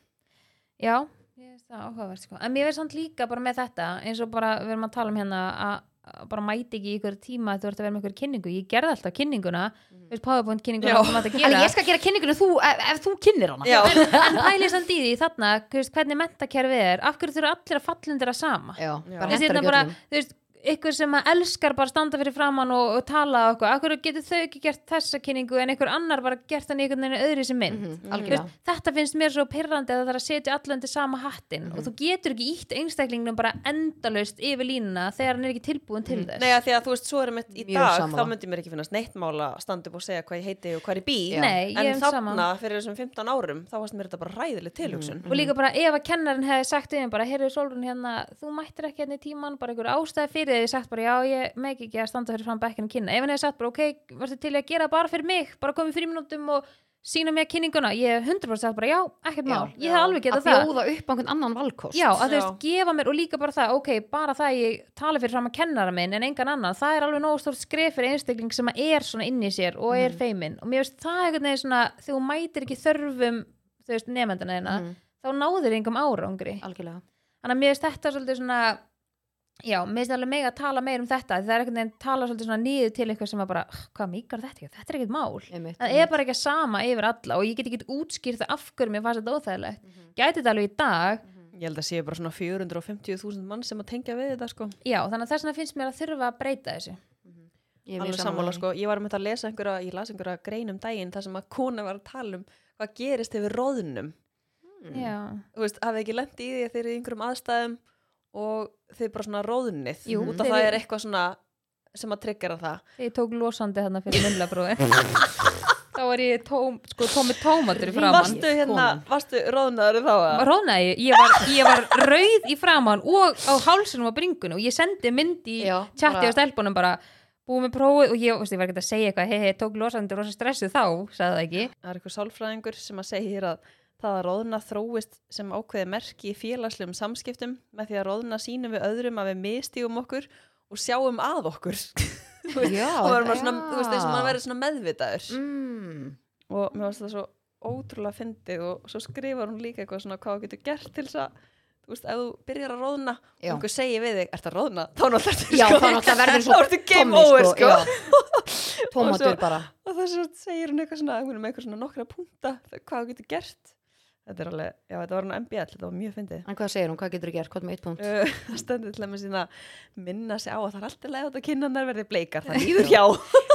já, ég veist það áhugavert sko en mér verð samt líka bara með þetta eins og bara við erum að tala um hérna að að bara mæti ekki í ykkur tíma að þú ert að vera með ykkur kynningu ég gerði alltaf kynninguna, þú veist powerpoint Mhm. kynninguna Já. sem þetta en gera ég skal gera kynningunni þú, ef, ef þú kynnir hana Já, en pælið samt í því þarna þú veist, hvernig mentakerfið er, af hverju þurfa allir að falla undir það sama já, Já. bara Þessi hentar hérna ekki bara, öllum þú veist, ykkur sem að elskar bara standa fyrir framann og, og tala og okkur, akkur getur þau ekki gert þessa kynningu en ykkur annar bara gert hann í einhvern veginn öðru sem mynd Mhm, Þú veist, algjörlega þetta finnst mér svo pyrrandi að það er að setja allan til sama hattin Mhm. og þú getur ekki ítt einstaklingnum bara endalaust yfir línuna þegar hann er ekki tilbúin til Mhm. þess Nei, að því að þú veist, svo erum við í Mjög dag, sammála. þá myndi mér ekki finnast neitt mála að standa upp og segja hvað ég heiti og hvað ég bý. Já. Nei, ég en er þarna, saman fyrir þessum 15 árum, þá varst mér þetta bara ræðileg tilhugsun. og Mhm. líka bara ef að kennarinn hefði sagt við þeim bara, heyrðu Solrún hérna, þú mættir ekki hérna í tíman, bara einhver ástæði fyrir þeir sagt bara, já, ég megi ekki að standa fyrir fram bekkinu kynna, ef hann hefði sagt bara, ok, varstu til í að gera bara fyrir mig, bara komið fyrir mínútum og sína mér kynninguna, ég hef 100% sagt bara, já, ekkert Já. mál, ég hef alveg getað að það bjóða upp á einhvern annan valkost Já, að þú Já. veist, gefa mér og líka bara það, ok, bara það að ég tala fyrir fram að kennara minn en engan annan, það er alveg nógu stórt skref fyrir einstakling sem að er svona inn í sér og Mhm. er feiminn og mér veist það einhvern veginn svona þegar þú mætir ekki þörfum, þú veist, nefndana þeirna, Mhm, þá náður engum árangri. algjörlega Þannig að mér veist þetta svolítið svona, já, mér veist alveg mega að tala meir um þetta, því það er einhvern veginn tala svolítið svona nýðu til einhver sem að bara, "Ugh, hvað mikar þetta ekki, þetta er ekkert mál. Einmitt, Það er bara ekki að sama yfir alla og ég get ekki útskýrt það af hverju mér fannst þetta óþægilegt. Mhm. Gæti þetta alveg í dag, Ég held að sé bara svona 450.000 mann sem að tengja við þetta, sko. Já, þannig að þess vegna finnst mér að þurfa að breyta þessu. ég er mjög Alveg sammála, sko. Ég var um þetta að lesa einhverja, ég las einhverja grein um daginn þar sem að kona var að tala um hvað gerist hefur róðnum. Mm. Já. Þú veist, hafið ekki lent í því að þeir eru í einhverjum aðstæðum og þeir bara svona róðnið. Jú, Út af þeir það eru- er eitthvað svona sem að tryggjara það. Ég tók losandi þarna fyrir mumlabróði. þá var ég tóm, sko, tómi tómatur í framann. Varstu hérna, komin. varstu róðnaður þá að? Rónaði, ég, ég, var, ég var rauð í framann og á hálsunum og bringunum og ég sendi mynd í Já, chatti bara- á stelpunum bara búið með prófið og ég, veist, ég var ekki að segja eitthvað, hei, hei, tók losandi rosa stressu þá, sagði það ekki. Það er eitthvað sálfræðingur sem að segir að það að róðna þróist sem ákveði merki í félagslegum samskiptum með því að róðna sínum við öðrum að við mistígum okkur og sjáum að okkur. Þú veist, Já, og verður maður svona, já. þú veist, eins og maður verður svona meðvitaður. mm. Og mér varst það svo ótrúlega fyndið og svo skrifar hún líka eitthvað svona hvað þú getur gert til þess að, þú veist, ef þú byrjar að róðna og Já. einhver segir við þig, ert að róðna, þá náttúrulega ertu, Já, þá náttúrulega verður svo Þá ertu game Tommy, over, sko. já. Tómatur Og bara og þess að segir hún eitthvað svona einhvern með eitthvað svona nokkra punta hvað þú getur gert þetta er alveg, já þetta var hann MBL þetta var mjög fyndið En hvað segir hún, hvað getur þú gert, hvað er með eitt punkt Uh, það stendur til að með sína minna sig á að það er alltaf leið átt að kynnanar verði bleikar það líður hjá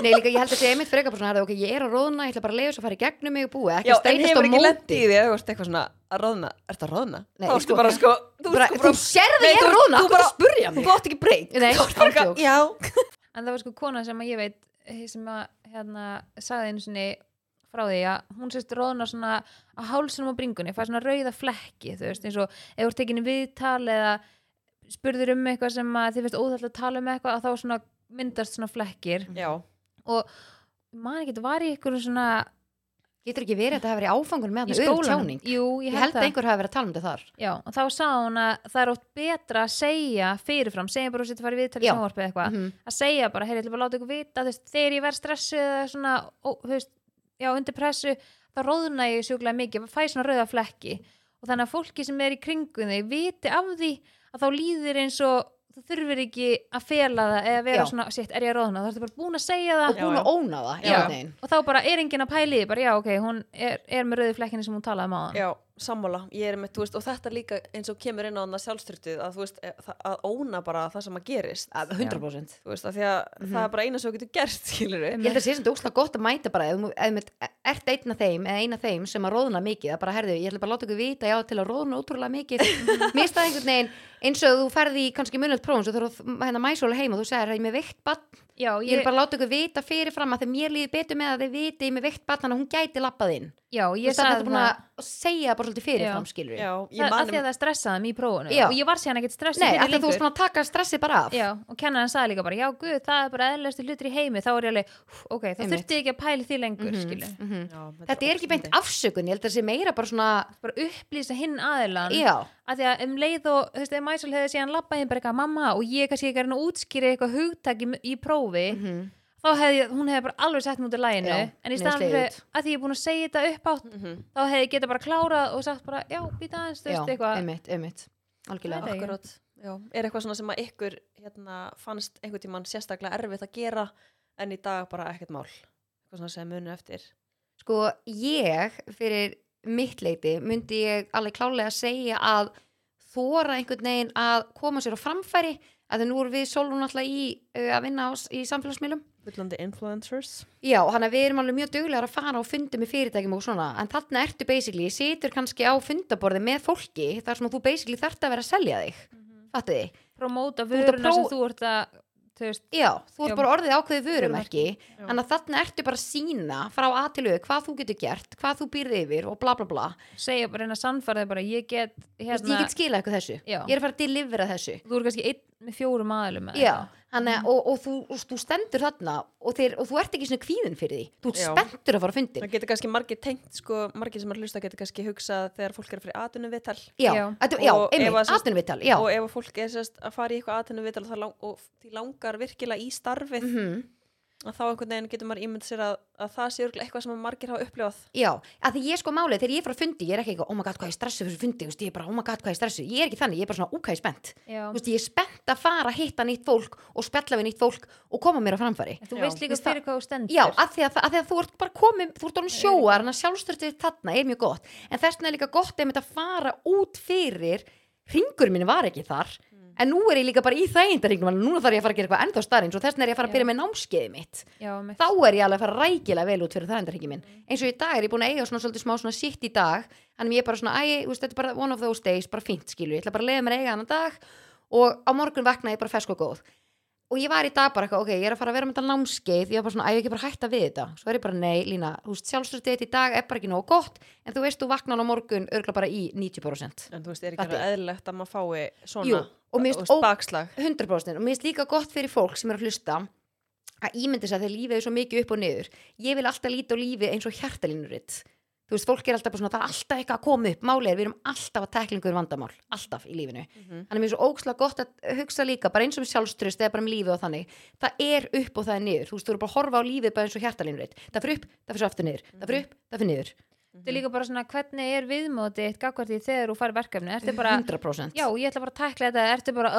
Nei, líka ég held að segja einmitt frekar bara svona herðu, ok, ég er að róðna, ég ætla bara að leiða svo að fara í gegnum mig og búi, já, ekki en steinast á hefur ekki lent móti í því að þú veist eitthvað svona að roðna ertu að roðna? Nei, þá ertu sko- bara sko þú, bara, sko, Þú sérðu Nei, ég er þú- að róðna, þú hvað er bara- að spurja þú mig gott ekki breyk Nei, ándjóks já, en það var sko kona sem að ég veit eh, sem að hérna sagði einu sinni frá því að hún sérst róðna svona á hálsunum og bringunni fær svona rauða flekki þú veist eins og ef þú ert tekinu viðtal eða spurður um eitthvað sem að þið finnst óþægt að tala um eitthvað að þá svona myndast svona flekkir já, og maður getur var í ykkur svona Getur ekki verið að það hefur verið áfangur með í þarna öðru skólanum tjáning Jú, Ég held að það. einhver hafi verið að tala um þetta þar Já, og þá sagði hún að það er ótt betra að segja fyrirfram, segja bara að setja að fara í viðtal í Já. sjónvarpið eitthvað Mhm. að segja bara, heyrðu, ég ætla bara að láta ykkur vita þú veist, þegar ég verð stressuð eða svona, ó, þú veist, já, undir pressu þá róðna ég sjúklega mikið, fæ svona rauða flekki og þannig að fólki sem er í kringun þig viti af því að þá líður eins og þú þurfir ekki að fela það eða vera Já. svona, sitt, er ég að róðna þá ertu bara búin að segja Og það Já, búin já. að óna það, Já. já, nein og þá bara er enginn að pæli því, bara já, ok, hún er, er með rauðu flekkinu sem hún talaði um Ah. áðan já, sammála ég er með, þú veist, og þetta líka eins og kemur inn á þannig sjálfstyrtið að þú veist, eh, það- að óna bara það sem að gerist 100% þú veist, af því að Mhm. það er bara eina sem þú getur gert, skilur Ég held að sé sem þetta óslega gott að mæta bara ef þú ef þú ert einn af þeim eða eina þeim sem að róðna mikið, að bara herðu, ég ætla bara að láta ykkur vita já, til að róðna ótrúlega mikið mér staði einhvern veginn eins og þú ferði í kannski munöld prófum, svo þú þarf að hérna mæsóla heim og þú segir, ég er með veikt bann, Já, ég vil bara láta ykkur vita fyrirfram að þegar mér líði betur með að þið viti ég er með veikt bann, þannig að hún gæti lappað inn já, ég ég sagði sagði þetta það að segja það bara svolítið fyrirfram, skilur já, ég Það- man af um- því að það stressaði mig í prófunu Já. og ég var síðan ekkert stressað Nei, fyrir alltaf þú lengur. varst búin að taka stressið bara af Já, og kennarinn sagði líka bara, já, guð, það er bara eðlustu hlutur í heimi, þá er ég alveg, "Úff, ok, þá Einmitt. þurfti ég ekki að pæli því lengur, mm Mhm. Já, Þetta er ekki beint óþolandi. afsökun, ég held að það sé meira bara svona Bara upplýsa hinn aðilan, Já, að því að um leið og, þú veist, ef Mæsul hefði síðan labbað hinn bara eitthvað, mamma, og ég kannski ekki er hann að útskýra eitthvað hugtak í, í prófi, Mhm. þá hefði, ég- hún hefði bara alveg sett mútið læginu, Já, en í nei, staðan slegið fyrir, út. að því ég er búin að segja þetta upp átt, Mhm. þá hefði ég geta bara klárað og sagt bara, já, býta aðeins, þú já, veist, eitthvað, einmitt, einmitt Algjörlega Þetta ekki. Akkúrat, já. Er eitthvað svona sem að ykkur hérna, fannst einhvern tímann sérstaklega erfitt að gera en í dag bara ekkert mál eitthvað svona sem munir eftir Sko, ég fyrir mitt leiti myndi ég alveg klálega að segja að þóra einhvern veginn að koma sér á framfæri að nú erum við sólun alltaf í uh, að vinna á, s- í samfélagsmiðlum Bullandi influencers Já, hann að við erum alveg mjög duglegar að fara á fundi með fyrirtækjum og svona, en þarna ertu basically, situr kannski á fundaborði með fólki þar sem þú basically þarft að vera að selja þig, mm Mhm. -hmm. fattu þið? Promóta ert að vöruna sem prófa- þú ert að, þú veist, Já, þú ert Já. bara orðið ákveðið vörumerki, Já. en að þarna ertu bara að sína frá A til U hvað þú getur gert, hvað þú býrði yfir og bla bla bla. segja bara reyna að sannfæra þig bara, ég get, Þú veist, hérna, ég get skilað eitthvað þessu, Já. ég er að fara að delivera þessu. þú eru kannski einn með fjórum aðilum eða Já, eitthvað. þannig að, og, og, þú, og þú stendur þarna og, þeir, og þú ert ekki svona kvíðin fyrir því, þú ert Já. spenntur að fara að fundi. það getur kannski margir tengt sko, margir sem er að hlusta getur kannski hugsað þegar fólk er fyrir atvinnuvital Já, Já. Þetta, já Og ef að einmitt, sérst- atvinnvital, já. og ef að fólk er sérst að fara í eitthvað atvinnuvital og, það lang- og því langar virkilega í starfið Mhm. að þá einhvern veginn getur maður ímynd sér að, að það sé örugglega eitthvað sem að margir hafa upplifað Já, að því ég sko málið, þegar ég er frá fundi, ég er ekki eitthvað, oh my god, hvað ég stressu fyrir þessu fundi, þú veist, ég er bara, oh my god, hvað ég stressu, ég er ekki þannig, ég er bara svona, ok, spennt. Já. Þú veist, ég er spennt að fara að hitta nýtt fólk og spjalla við nýtt fólk og koma mér á framfæri. En Þú veist líka Veist það- fyrir hvað þú stendur. Já, að því að, að því að þú ert bara komið, þú ert orðin sjóar, þannig að sjálfstörtið þarna er mjög gott. En þess vegna er líka gott einmitt að fara út fyrir, ringur minn var ekki þar, en nú er ég líka bara í þægindaringnum, núna þarf ég að fara að gera eitthvað ennþá starrins og þess vegna er ég að fara að Já. byrja með námskeiði mitt Já, mitt. þá er ég alveg að fara rækilega vel út fyrir þræðindarhengi minn eins og í dag er ég búin að eiga svona svolítið smá svona sitt í dag þannig ég er bara svona, æ, þú veist, þetta er bara one of those days bara fínt skilu, ég ætla bara að leiða mér að eiga annan dag og á morgun vakna ég bara fersk og góð og ég var í dag bara eitthvað, ok, ég er að fara að vera með þetta námskeið, ég var bara svona, æ, ég ekki bara að hætta við þetta svo er ég bara, nei, Lína, þú veist, sjálfstöðið í dag er bara ekki nógu gott, en þú veist, þú vaknar á morgun örgla bara í 90%. en þú veist, er ekki Fattu. alveg eðlilegt að maður fái svona Jú, og mér þú finnst veist, ó- bakslag 100% og mér finnst líka gott fyrir fólk sem er að hlusta að ímynda sér að þeir lífið er svo mikið upp og niður ég vil alltaf líta á lífið eins og hjartalínuritt þú veist, fólk er alltaf bara svona það er alltaf eitthvað að koma upp, málið er við erum alltaf að tekla einhver vandamál, alltaf í lífinu mm -hmm. þannig mér er svo ógslag gott að hugsa líka bara eins og um sjálfströst eða bara um lífið og þannig það er upp og það er niður, þú veist, þú eru bara að horfa á lífið bara eins og hjartalínuritt, það fyrir upp, það fyrir svo aftur niður það fyrir upp, það fyrir niður, Mhm. Þetta er líka bara svona hvernig er viðmótið eitt gagvart í þegar þú fari verkefni. Ertu bara, 100% já, ég ætla bara að tækla þetta, ertu bara,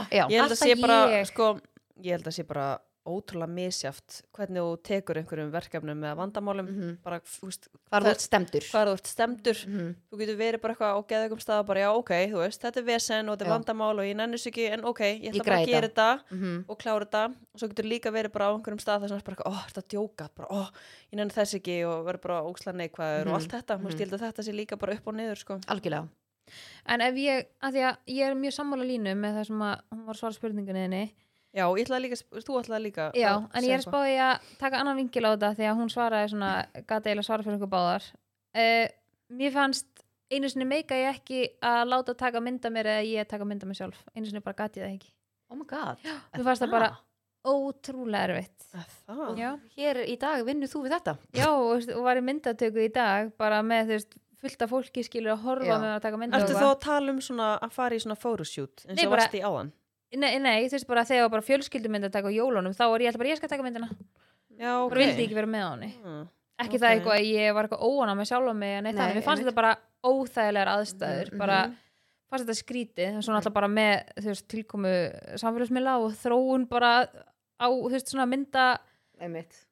"Ugh, Já. ég held að alltaf sé bara, ég." sko ég held að sé bara ótrúlega misjaft hvernig þú tekur einhverjum verkefnum eða vandamálum, bara, þú veist Mhm. Hvar þú ert stemdur. hvað þú ert stemdur Mhm. þú getur verið bara eitthvað og geða einhverjum stað og bara, já, ok, þú veist, þetta er vesen og þetta er Já. vandamál og ég nennis ekki, en ok ég ætla Ég bara að græði gera þetta Mhm. og klára þetta og svo getur líka verið bara á einhverjum stað þar sem er bara, eitthvað, ó, þetta djóka bara, ó, ég nenni þess ekki og verið bara óksla neikvæður og Mhm, allt þetta, þú veist, ég held að þetta sé líka bara upp og niður, sko Algjörlega. En ef ég, að því að ég er mjög sammála línu með það sem að hún var að svara spurningunni þinni. já, og ég ætlaði líka, þú ætlaði líka að Já, en ég segja er eitthvað. spáði að taka annan vingil á þetta því að hún svaraði svona, gata eiginlega svara fyrir okkur báðar. Uh, mér fannst einu sinni meika ég ekki að láta taka mynda mér eða ég taka mynda mér sjálf. Einu sinni bara gati ég það ekki. Oh my god. Mér fannst það bara ótrúlega erfitt. Það? Já. Hér í dag vinnur þú við þetta. Já, og, þú veist, og var í myndatöku í dag bara með þú veist, fullt af fólki skilur að horfa Já. með að taka mynda Ertu þá að tala um svona að fara í svona photoshoot eins Nei, og bara- varst í áðan? Nei, nei, þú veist bara þegar var bara fjölskyldumynd að taka á jólunum þá var ég alltaf bara ég skal taka myndina Já, ok. bara vildi ekki vera með á henni Mm. ekki það Ok. eitthvað að ég var eitthvað óana með sjálfa mig en Nei, eitthvað, mér fannst einmitt. þetta bara óþægilegar aðstæður bara fannst þetta skrítið en svona alltaf bara með þú veist, tilkomu samfélagsmiðla og þróun bara á þú veist, svona mynda Einmitt.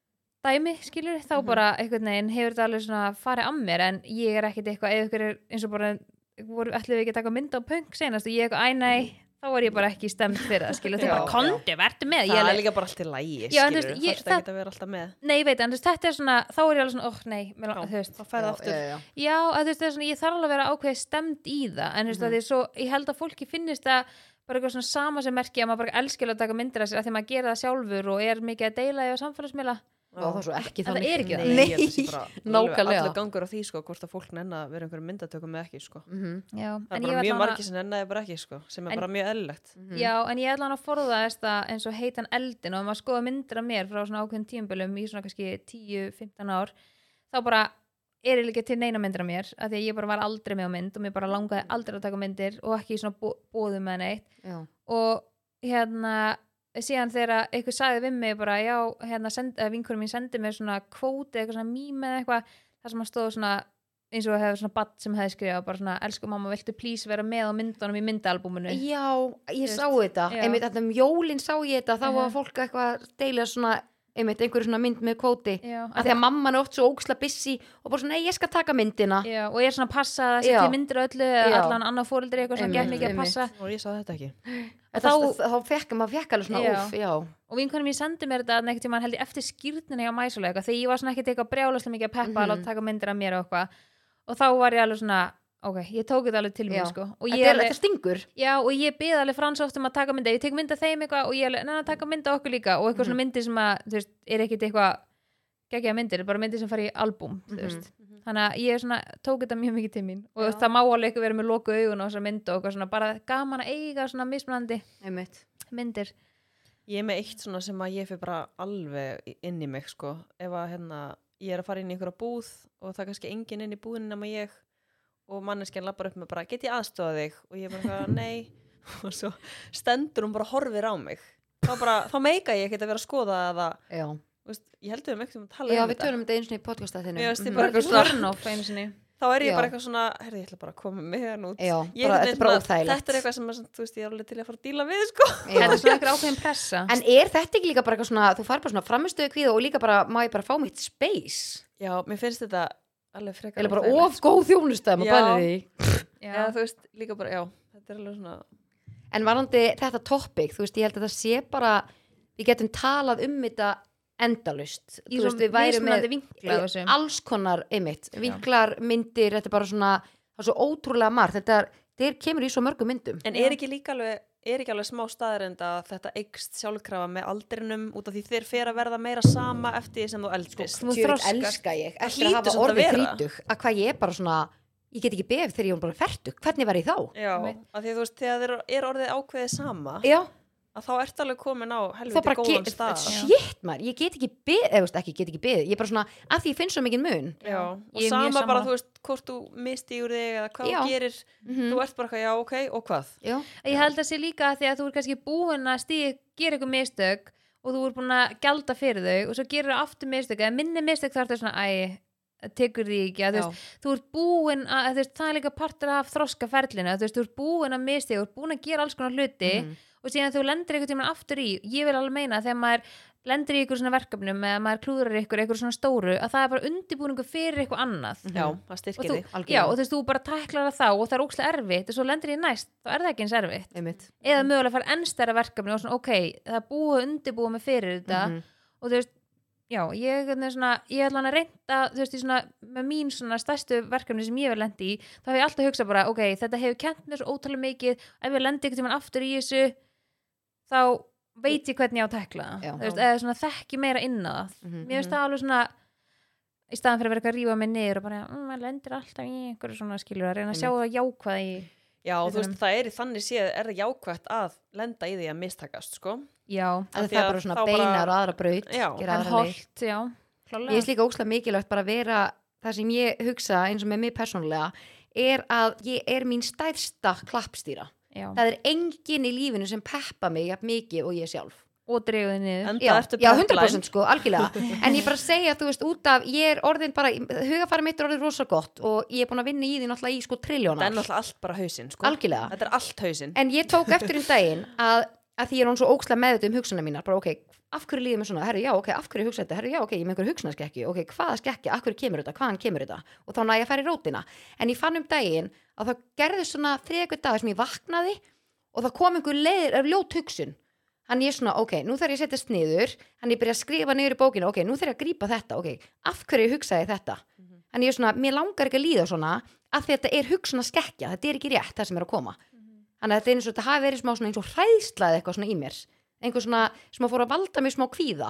dæmi skilur þá bara einhvern veginn hefur þetta alveg svona farið að mér en ég er ekkert eitthvað eða ykkur er eins og bara voru ætlum við ekki að taka mynd á punk senast og ég eitthvað æ nei þá var ég bara ekki stemt fyrir það skilur þú Já, bara já. komdu, verðu með ég Það alveg- er líka bara allt í lægi, Já, en þú skilur. veist, Það ég- er ekki það- að vera alltaf með. Nei, ég veit, en þú veist, þetta er svona, þá er ég alveg svona, óh, nei, mér, Já, lang- þú veist, þá ferði aftur. Já, já. já, að þú veist, það er svona, ég þarf alveg að vera ákveðið stemd í það, en þú veist, mm -hmm. svo, ég held að fólki finnist það bara eitthvað svona sama sem merki að maður bara elskil að taka myndir af sér að því maður gera það sjálfur og er mikið að deila því á samfélagsmiðla. Já, það er svo ekki En það þannig. er ekki Nei, ég held að sé bara alveg nákvæmlega. Allur gangur á því, sko, hvort að fólk nenn að vera einhverjum myndatökum með ekki, sko. Mhm. Já, Það er ég bara mjög var allavega- margir sem Mhm. nennaði bara ekki, sko, sem er En- bara mjög eðlilegt. mhm. Já, en ég ætla hann að forða þess það eins og heitan eldin og ef maður skoða myndir af mér frá svona ákveðin tíumbölum í svona kannski 10-15 ár þá bara er ég líka til neina myndir af mér af því að ég bara var aldrei með á mynd og mér bara langaði aldrei að taka myndir og ekki í svona bó bóðum með neitt Já. og hérna síðan þegar eitthvað sagði við mig bara já, hérna, send, vinkurum mín sendi mér svona kvóti eitthvað svona mím eða eitthvað þar sem hann stóð svona eins og hefði svona badd sem hefði skrifað bara svona elsku mamma, viltu please vera með á myndunum í myndalbúminu já, ég Þú sá þetta já. einmitt þetta um jólin sá ég þetta þá Mhm. var fólk eitthvað að deila svona einmitt einhverju svona mynd með kvóti já, að því að mamman er oft svo óksla bissi og bara svona, nei, ég skal taka myndina já, og er svona að passa að setja Já. myndir af öllu Já. eða allan annar fóreldri eitthvað sem Einmitt, gett mikið að einmitt. passa og ég sá þetta ekki En þá- þá, þá fekk maður fekk alveg svona Já. úf, já, og vinkonum mín sendi mér þetta neitt tíma held ég eftir skýrnina hjá mæsulega eitthvað þegar ég var svona ekkert eitthvað brjálaslega mikið að peppa Mhm. að láta taka myndir af mér og eitthvað og þá var ég alveg svona, ok, ég tók þetta alveg til Já. mér sko og ég, þetta, er, alveg, þetta stingur já, og ég beði alveg frans oft um að taka mynda, ég tek mynda þeim eitthvað og ég alveg, neina, taka mynda okkur líka og eitthvað svona myndir sem að, þú veist, er ekkert eitthvað geggja myndir, bara myndir sem fara í album þú Mhm. veist, þannig að ég svona tók þetta mjög mikið til mín og þú veist, það má alveg ekki vera með loku augun og þessar mynd og eitthvað svona bara gaman að eiga svona mismunandi einmitt, myndir ég er með eitt svona sem að ég fyrir bara alveg í- inn í mig sko ef að hérna ég er að fara inn í einhverja búð og það er kannski enginn inn í búðin nema ég og manneskjan lappar upp með bara get ég aðstofa þig og ég er bara eitthvað, nei og svo stendur hún bara og horfir á mig þá bara, þá meika ég ekkert að vera að skoða að það, já, þú veist, ég heldur við um ekkert um að tala já um við þetta tölum þetta einu svona í Mhm. podcasta þinnu Mér finnst þið bara eitthvað eitthvað svona- turn-off einu sinni þá er ég Já. bara eitthvað svona, herði ég ætla bara að koma með hann út já, Ég bara, einhvern þetta er veginn bara svona- þetta er óþægilegt eitthvað sem að, þú veist, ég er alveg til að fara að díla við sko. Já. Þetta er svona eitthvað ákveðin pressa en er þetta ekki líka bara eitthvað svona þú fær bara svona framistöðu kvíða og líka bara má ég bara fá mitt space já, mér finnst þetta alveg frekar eða bara óþægilegt. of góð þjónustæðum Já. að bæla því Já, þú veist, líka bara, já, þetta er alveg svona En varandi þetta topic, þú veist, ég held að það sé bara, við getum talað um þetta endalust. Í svona mismunandi vinkla á þessu. alls konar einmitt, vinklar, myndir, þetta er bara svona, það er svo ótrúlega margt, þetta er, þeir kemur í svo mörgum myndum. En er ekki líka alveg, er ekki alveg smá staðarind að þetta eikst sjálfkrafa með aldrinum út af því þeir fer að verða meira sama eftir því sem þú eldist þú- Sko, Djöfull þroskast. elska ég, Það eftir að hlýtur hafa samt að orðið vera. þrítug, að hvað ég er bara svona, ég get ekki beðið þegar ég er bara fertug, hvernig var ég þá? Já, Einmitt. af því að þú veist, þegar þeir eru- er orðið ákveðið sama Já, að þá ertu alveg komin á þá helviti bara, góðan ge- stað shit maður, ég get ekki beðið, eða þú veist, ekki get ekki beðið, ég er bara svona, að því ég finn svo mikið mun. Já, og Ég er mjög sama bara, sammála. þú veist, hvort þú misti úr þig eða hvað Já. þú gerir Mhm. þú ert bara eitthvað, Mhm. já, ok, og hvað? Já, Ég held að sé líka að því að þú er kannski búin að stíð gera ykkur mistök og þú er búin að gjalda fyrir þau og svo gerir þau aftur mistök eða minni mistök þá er þetta svona æ, það tekur því ekki að þú, veist, þú ert búin að þú veist, það er líka partur af þroskaferlinu að þú veist, þú ert búin að mistök, þú ert búin að gera alls konar hluti Mhm. og síðan þú lendir einhvern tímann aftur í ég vil alveg meina að þegar maður lendir í ykkur svona verkefnum eða maður klúðrar ykkur ykkur svona stóru að það er bara undirbúningu fyrir ykkur annað Mhm. Já, það og styrkir þú, þig algjörlega. já, og þú veist, þú bara tæklar það þá og það er ókslega erfitt og svo lendir ég næst, þá er það ekki eins erfitt einmitt. eða mögulega fara ennstæra verkefni og svona, ok, það er búið að undirbúa mig fyrir þetta Mhm. og þú veist, já, ég er hvernig svona, ég ætla hann að reynda, þú veist, í svona með mín svona stærstu verkefni sem ég hef lent í þá hef ég alltaf hugsað bara, ok, þetta hefur kent mér svo ótalega mikið, ef ég lendi eitthvað aftur í þessu, þá veit ég hvernig ég á að tekla Já. það þú veist, eða svona þekki meira inn á það Mhm. mér finnst það alveg svona í staðan fyrir að vera eitthvað að rífa mig niður og bara, mm, maður lendir alltaf í einhverju svona skilur að reyna að sjá það jákvæða í Já, og þú Við veist, Mhm. það er í þannig séð er það jákvætt að lenda í því að mistakast, sko já, að Af því það er að bara svona þá bara- beinar og aðra braut Já. gera en aðra leið. holt, já ég finnst líka óslega mikilvægt bara að vera það sem ég hugsa eins og með mig persónulega er að ég er mín stærsta klappstýra Já. það er engin í lífinu sem peppa mig jafn mikið og ég sjálf og dreguði niður En já, það ertu já, pepline. 100% sko, algjörlega en ég bara segja, þú veist, út af ég er orðin bara, hugafæra mitt er orðin rosa gott og ég er búin að vinna í því náttúrulega í sko Það er triljónar, náttúrulega allt bara hausinn, sko algjörlega Þetta er allt hausinn en ég tók eftir um daginn að, að því ég er hún svo ókslega meðut um hugsanar mínar bara ok, af hverju líður mér svona, herru já, ok, af hverju hugsa þetta, herru já, ok, ég er með einhverju hugsanarskekki ok, hvaða skekki, af hverju kemur þetta, hvaðan kemur þetta og þá næ ég að fara í rótina en ég fann um daginn að það gerði svona þriðakur dag sem ég vaknaði og það kom einhver leiðir af ljót hugsun hann ég svona, ok, nú þarf ég að setjast niður hann ég byrja að skrifa niður í bókinu, ok, nú þarf ég að grípa þetta, ok, af hverju hugsaði ég þetta en ég er svona, mér langar ekki að líða svona af því að þetta er hugsun að skekja, þetta er ekki rétt það sem er að koma þannig að þetta er eins og þetta hafi verið smá svona eins og hræðslaði eitthvað svona í mér einhver svona sem að fór að valda mér smá kvíða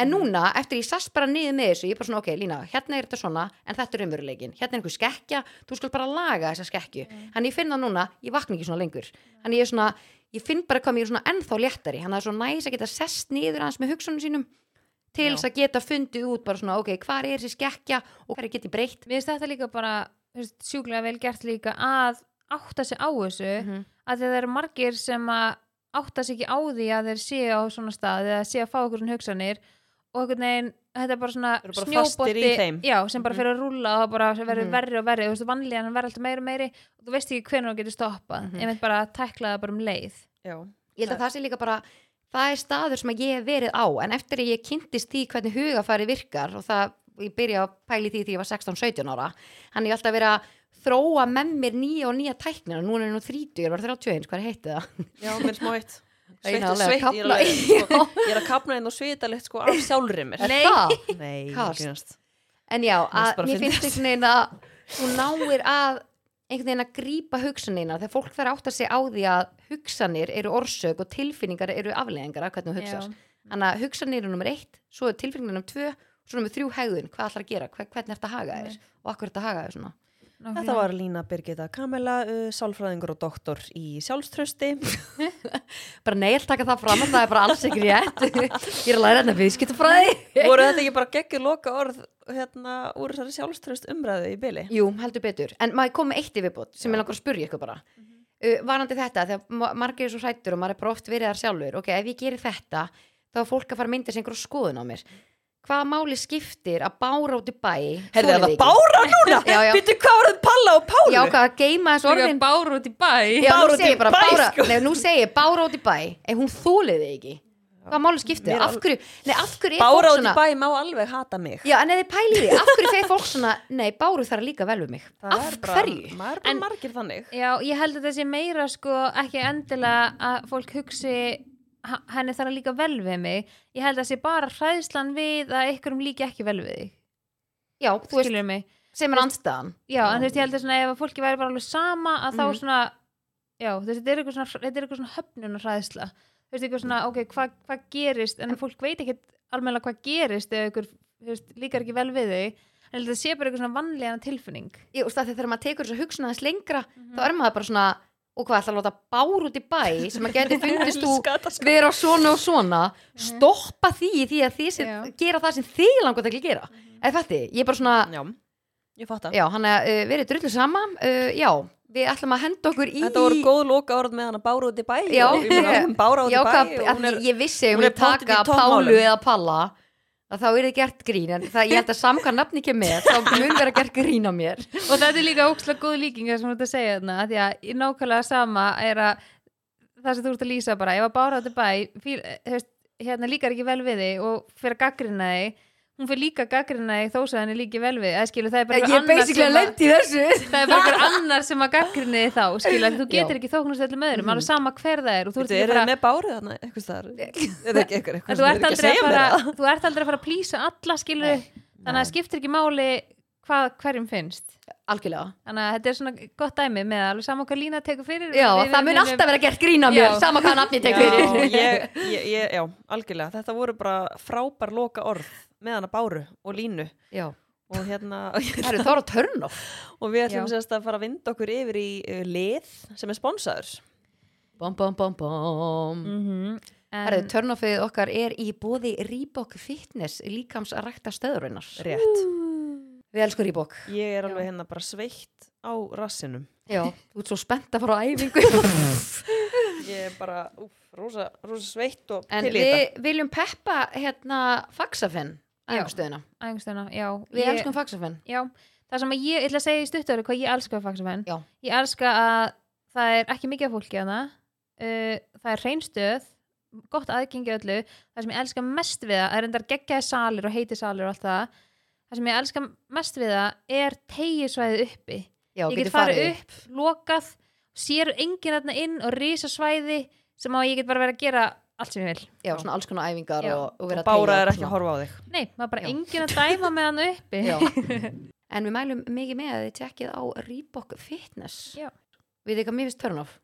en núna, eftir ég sast bara niður með þessu ég er bara svona, ok, Lína, hérna er þetta svona en þetta er umveruleikin, hérna er einhver skekja þú skal bara laga þessa skekju þannig ég finn það núna, ég vakna ekki svona lengur þannig ég er svona, ég finn bara hvað mér er svona ennþá léttari, þannig að það er svo næs að geta sest niður aðeins með hugsunum sínum til Já. þess að geta fundið út bara svona, ok, hvar er þessi skekja og hver get ég breytt mér finnst þetta líka bara þú veist, sjúklega vel gert líka að átta sig á þessu mm Mhm. að það eru margir sem að átta sig ekki á því að þeir séu á svona stað eða séu að fá okkur svona hugsanir og einhvern veginn, þetta er bara svona Eru bara fastir í þeim. Mhm. já, sem bara fyrir að rúlla og bara verður Mhm. verri og verri, þú veist, vanlíðan verður alltaf meiri og meiri og þú veist ekki hvernig þú getur stoppað, Mhm. einmitt bara að tækla það bara um leið Já, ég held að það sé líka bara það er staður sem að ég hef verið á en eftir að ég kynntist því hvernig hugafæri virkar og það, ég byrja að pæli því því ég var 16-17 ára hann er alltaf verið að þróa með mér nýja og nýja tæknina, núna er ég nú 30, ég var 31 hvað heiti það? Já, mér er smá eitt Það er Sveitt alveg og sveitt, ég er að kafna alveg í, sko, Ég er að kapna einn og sveita leitt sko af sjálfri mér Er það? Nei, Kast. Grínast. En já, finnst að, bara mér fyndið. finnst einhvern veginn að þú náir að einhvern veginn að grípa hugsanina þegar fólk þarf átt að segja á því að hugsanir eru orsök og tilfinningar eru afleðingar af hvernig Já. þú hugsar. Þannig að hugsanir eru nummer eitt, svo er tilfinningar nummer tvö, svo nummer þrjú hegðun, hvað ætlar að gera, hver, hvernig ertu að haga þér og akkur ertu að haga þér svona. Þetta var Lína Birgitta Kamela, uh, sálfræðingur og doktor í sjálfströsti Bara nei, ég ætla að taka það fram að það er bara alls ekki rétt. ég er að læra þetta viðskiptafræði. Voru þetta ekki bara geggjuð loka orð hérna úr þessari sjálfströst umræðu í byli? Jú, heldur betur. En maður kom með eitt yfirbót sem ég langar að spurja ykkur bara. Mm varandi þetta, þegar ma- margir er svo hrættur og maður er bara oft verið þar sjálfur, ok, ef ég gerir þetta, þá er fólk að fara að mynda sér einhverju skoðun á mér. Hvaða máli skiptir að bára út í bæ? Herði þoli það þig ekki? bára núna? Já, já. Býttu hvað voruð Palla og Pálu? Já, hvað að geima þessu Sorgin orðin? bár út í bæ Já, Bára nú út í segi ég bara bæ, bára, sko. nei, nú segi ég bára út í bæ, en hún þóliði ekki. Hvaða máli skiptir? Mér Af hverju, nei, af hverju er Bára fólk út í svona- bæ má alveg hata mig Já, en ef þið pælið því, af hverju þegar fólk svona, nei, báru þarf líka vel við mig. Það af er bara- hverju? Maður er bara En- margir þannig Já, ég held að það sé meira sko ekki endilega að fólk hugsi "Ha- henni þarf að líka vel við mig ég held að það sé bara hræðslan við að einhverjum líki ekki vel við þig Já, þú veist, skilur mig sem er andstaðan. Já, en þú veist, ég held að svona, ef að fólki væri bara alveg sama að þá Mhm. svona, já, þú veist, þetta er eitthvað svona, þetta er eitthvað svona höfnun og hræðsla þú veist, eitthvað svona, ok, hvað hva gerist en fólk veit ekkert almennilega hvað gerist ef ykkur, þú veist, líkar ekki vel við þig en ég held að það sé bara eitthvað svona vanlíðan tilfinning Jú, þú veist, af því þegar maður tekur þessu hugsun aðeins lengra, þá Mhm. er maður bara svona, og hvað, ætla að láta bár út í bæ, sem að geti fundist þú vera svona og svona, Mhm. stoppa því í því að þið sem, Já. gera það sem þið langar til að gera. Mhm. Eða fætti, ég er bara svona, Já, ég fatt já, hann er uh, verið drullu sama, uh, já, við ætlum að henda okkur í... Þetta voru góð loka orð með hana Bára út í bæ Já. og ég meina, hún Bára út í Já, bæ hvað, og að hún er, því ég vissi ef hún hún er pottit í taka toppmálum. Pálu eða Palla að þá er þið gert grín en það, ég held að samkvæm nafni ekki með þá mun vera gert grín á mér og þetta er líka ókslega góð líkinga sem þú ert að segja þarna af því að í nákvæmlega sama er að það sem þú ert að lýsa bara ef að bára þetta bæ fíl, hefst, hérna líkar ekki vel við þig og fyrir að gaggrina þig hún fyrir líka að gaggrina þig þó sem henni líki vel við eða skilu það er bara Eh, ég einhver annar er basically sem að að- lendi í þessu það er bara einhver annar sem að gaggrinni þig þá skilu að þú getur ekki þóknast öllum öðrum Mhm. alveg sama hver það er og þú ert Þú ekki eru bara þið með Báru þarna eitthvað staðar Eða ekki eitthvað eitthvað En þú sem er ekki ert að aldrei að segja mér fara það. þú ert aldrei að fara að plýsa alla skilu þannig að það skiptir ekki máli hvað hverjum finnst algjörlega þannig að þetta er svona gott dæmi með alveg saman hvað lína tekur fyrir já, við- það við- mun við- alltaf vera gert grín á mér Já. sama hvað nafni tek Já, fyrir ég, ég, ég, já, algjörlega Þetta voru bara frábær loka orð með hana Báru og Línu já, og hérna það eru þóra törn of og við ætlum Já. sérst að fara að vinda okkur yfir í uh, lið sem er sponsaður bom, bom, bom, bom Mm. Mhm. En- Herðu, törnofið okkar er í bóði Reebok Fitness líkams að rækta stöðurinnar. Rétt Við elskum Reebok. Ég er alveg hérna bara sveitt á rassinum Já, þú ert svo spennt að fara á æfingu. Ég er bara, úf, rosa, rosa sveitt og En til í við þetta viljum peppa hérna Faxafenn Já. æfngstöðina. Ægumstöðna, já Við Ég- elskum Faxafenn. Já, það sem að ég, ég ætla að segja í stuttöru hvað ég elska við fagsamenn Já. Ég elska að það er ekki mikið af fólki hana uh, Það er reynstöð gott aðgengi öllu Það sem ég elska mest við það er endar geggjaði salir og heiti salir og allt það Það sem ég elska mest við það er tegisvæðið uppi Já, Ég getur get farið upp, lokað sér enginn þarna inn og risasvæði sem að ég get bara verið að gera allt sem ég vil Já, svona alls konar æfingar Já. og, og vera og Bára teygja er ekki að svona. horfa á þig Nei, það er bara Já. enginn að dæma með hann uppi Já. En við mælum mikið með að þið tjekkið á Reebok Fitness. Já. Við þið hvað mér finnst törn of.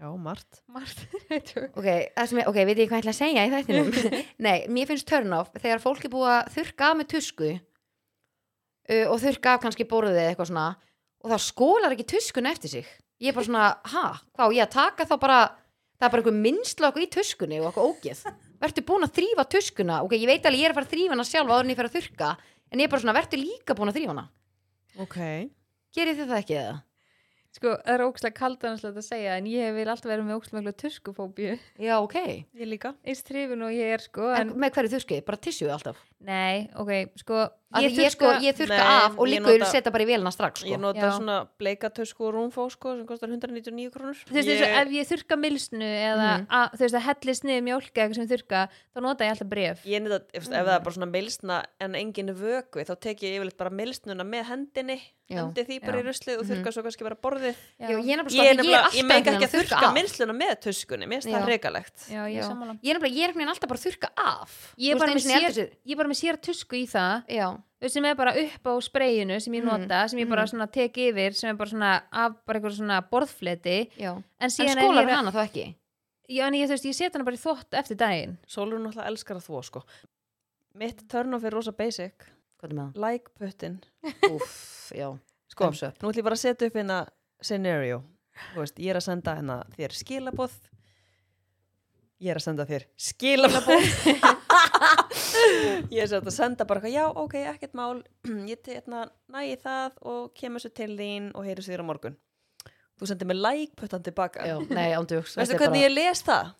Já, margt Margt Ok, það sem ég, ok, veit ég hvað ég ætla að segja í þættinum. Nei, mér finnst törn of þegar fólk er búið að þurrka af með tusku uh, og þurrka af kannski borðið eða eitthvað svona og það skólar ekki tuskun eftir sig. Ég er bara svona, ha, hvað, á ég að taka þá bara, það er bara einhver minnsla okkur í tuskunni og okkur ógeð. Vertu búin að þrýfa tuskuna, ok, ég veit alveg ég er að fara að þrýfa hana sjálf áður en ég fer að þurrka, en ég er bara svona, vertu líka búin að þrýfa hana. Ok Gerið þið það ekki eða? Sko, það er ógslag kaldanarslegt að segja en ég vil alltaf vera með ógslag tuskufóbíu Já, ok. Ég líka eins þrifin og ég er sko En, en, með hverju þurrkið? Bara tissjúið alltaf? Nei, ok, sko Af Ég því ég, sko, þurrka- ég þurka Nei, af og ég líkur nota- setja bara í vélina strax Ég sko. nota Já. svona bleikatösku og rúmfó sko sem kostar 199 krónur. þú veist, eins og ef ég þurka milsnu eða Mhm. að, þú veist, að hellist niður mjólk eða eitthvað sem ég þurka, þá nota ég alltaf bref Ég nýta, ef, ef það er bara svona milsna en enginn vöku þá tek ég yfirleitt bara milsnuna með hendinni, Já. hendi því bara Já. í ruslið og Mhm. þurka svo kannski bara borðið. Já. Já, ég er nefnilega Ég sko, er ég er nefnilega, alltaf ég meika einhvern ekki að veginn þurka af. milsnuna með töskunni, mér finnst Já. það regalegt. já, ég er Já. sammála Ég er nefnilega, ég er einhvern veginn alltaf bara að þurka af ég er Þú bara veist, með einu sinni í sér- ég er bara með sér tusku í það eldhúsi- Já, þú veist, sem er bara upp á spreyinu sem ég Mhm. nota, sem ég bara svona tek yfir sem er bara svona af bara einhver svona borðfleti já en En síðan skólar er ég, hana þá ekki já, en ég, þú veist, ég set hana bara í þvott eftir daginn Sólur náttúrulega elskar að þvo sko. Mitt törnof er rosa basic, Hvað er með það? like puttin. Úff, já Sko, Thumbs up. nú ætlum ég bara að setja upp hérna scenario. Þú veist, ég er að senda hérna þér skilaboð. Ég er að senda þér skilaboð. ég er sem sagt að senda bara eitthvað, já, ok, ekkert mál. Ég til hérna nægi það og kemur svo til þín og heyri sér á morgun. Þú sendir mér like puttan tilbaka. Já, nei, ándjóks Veistu hvernig ég les það?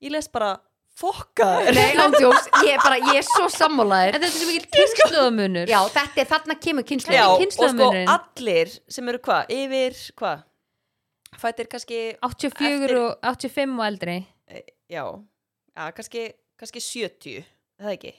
Ég les bara, fokka þér. Nei, ándjóks, ég er bara, ég er svo en sammálaðir þetta er svo mikil kynnslóðamunur Já, þetta er þarna kemur kynslu Já, og sko kynslóðarmunurinn. allir sem eru hvað, yfir hvað, fættir kannski 84 Eftir- og 85 og eldri e, já, ja, kannski, kannski 70, er það ekki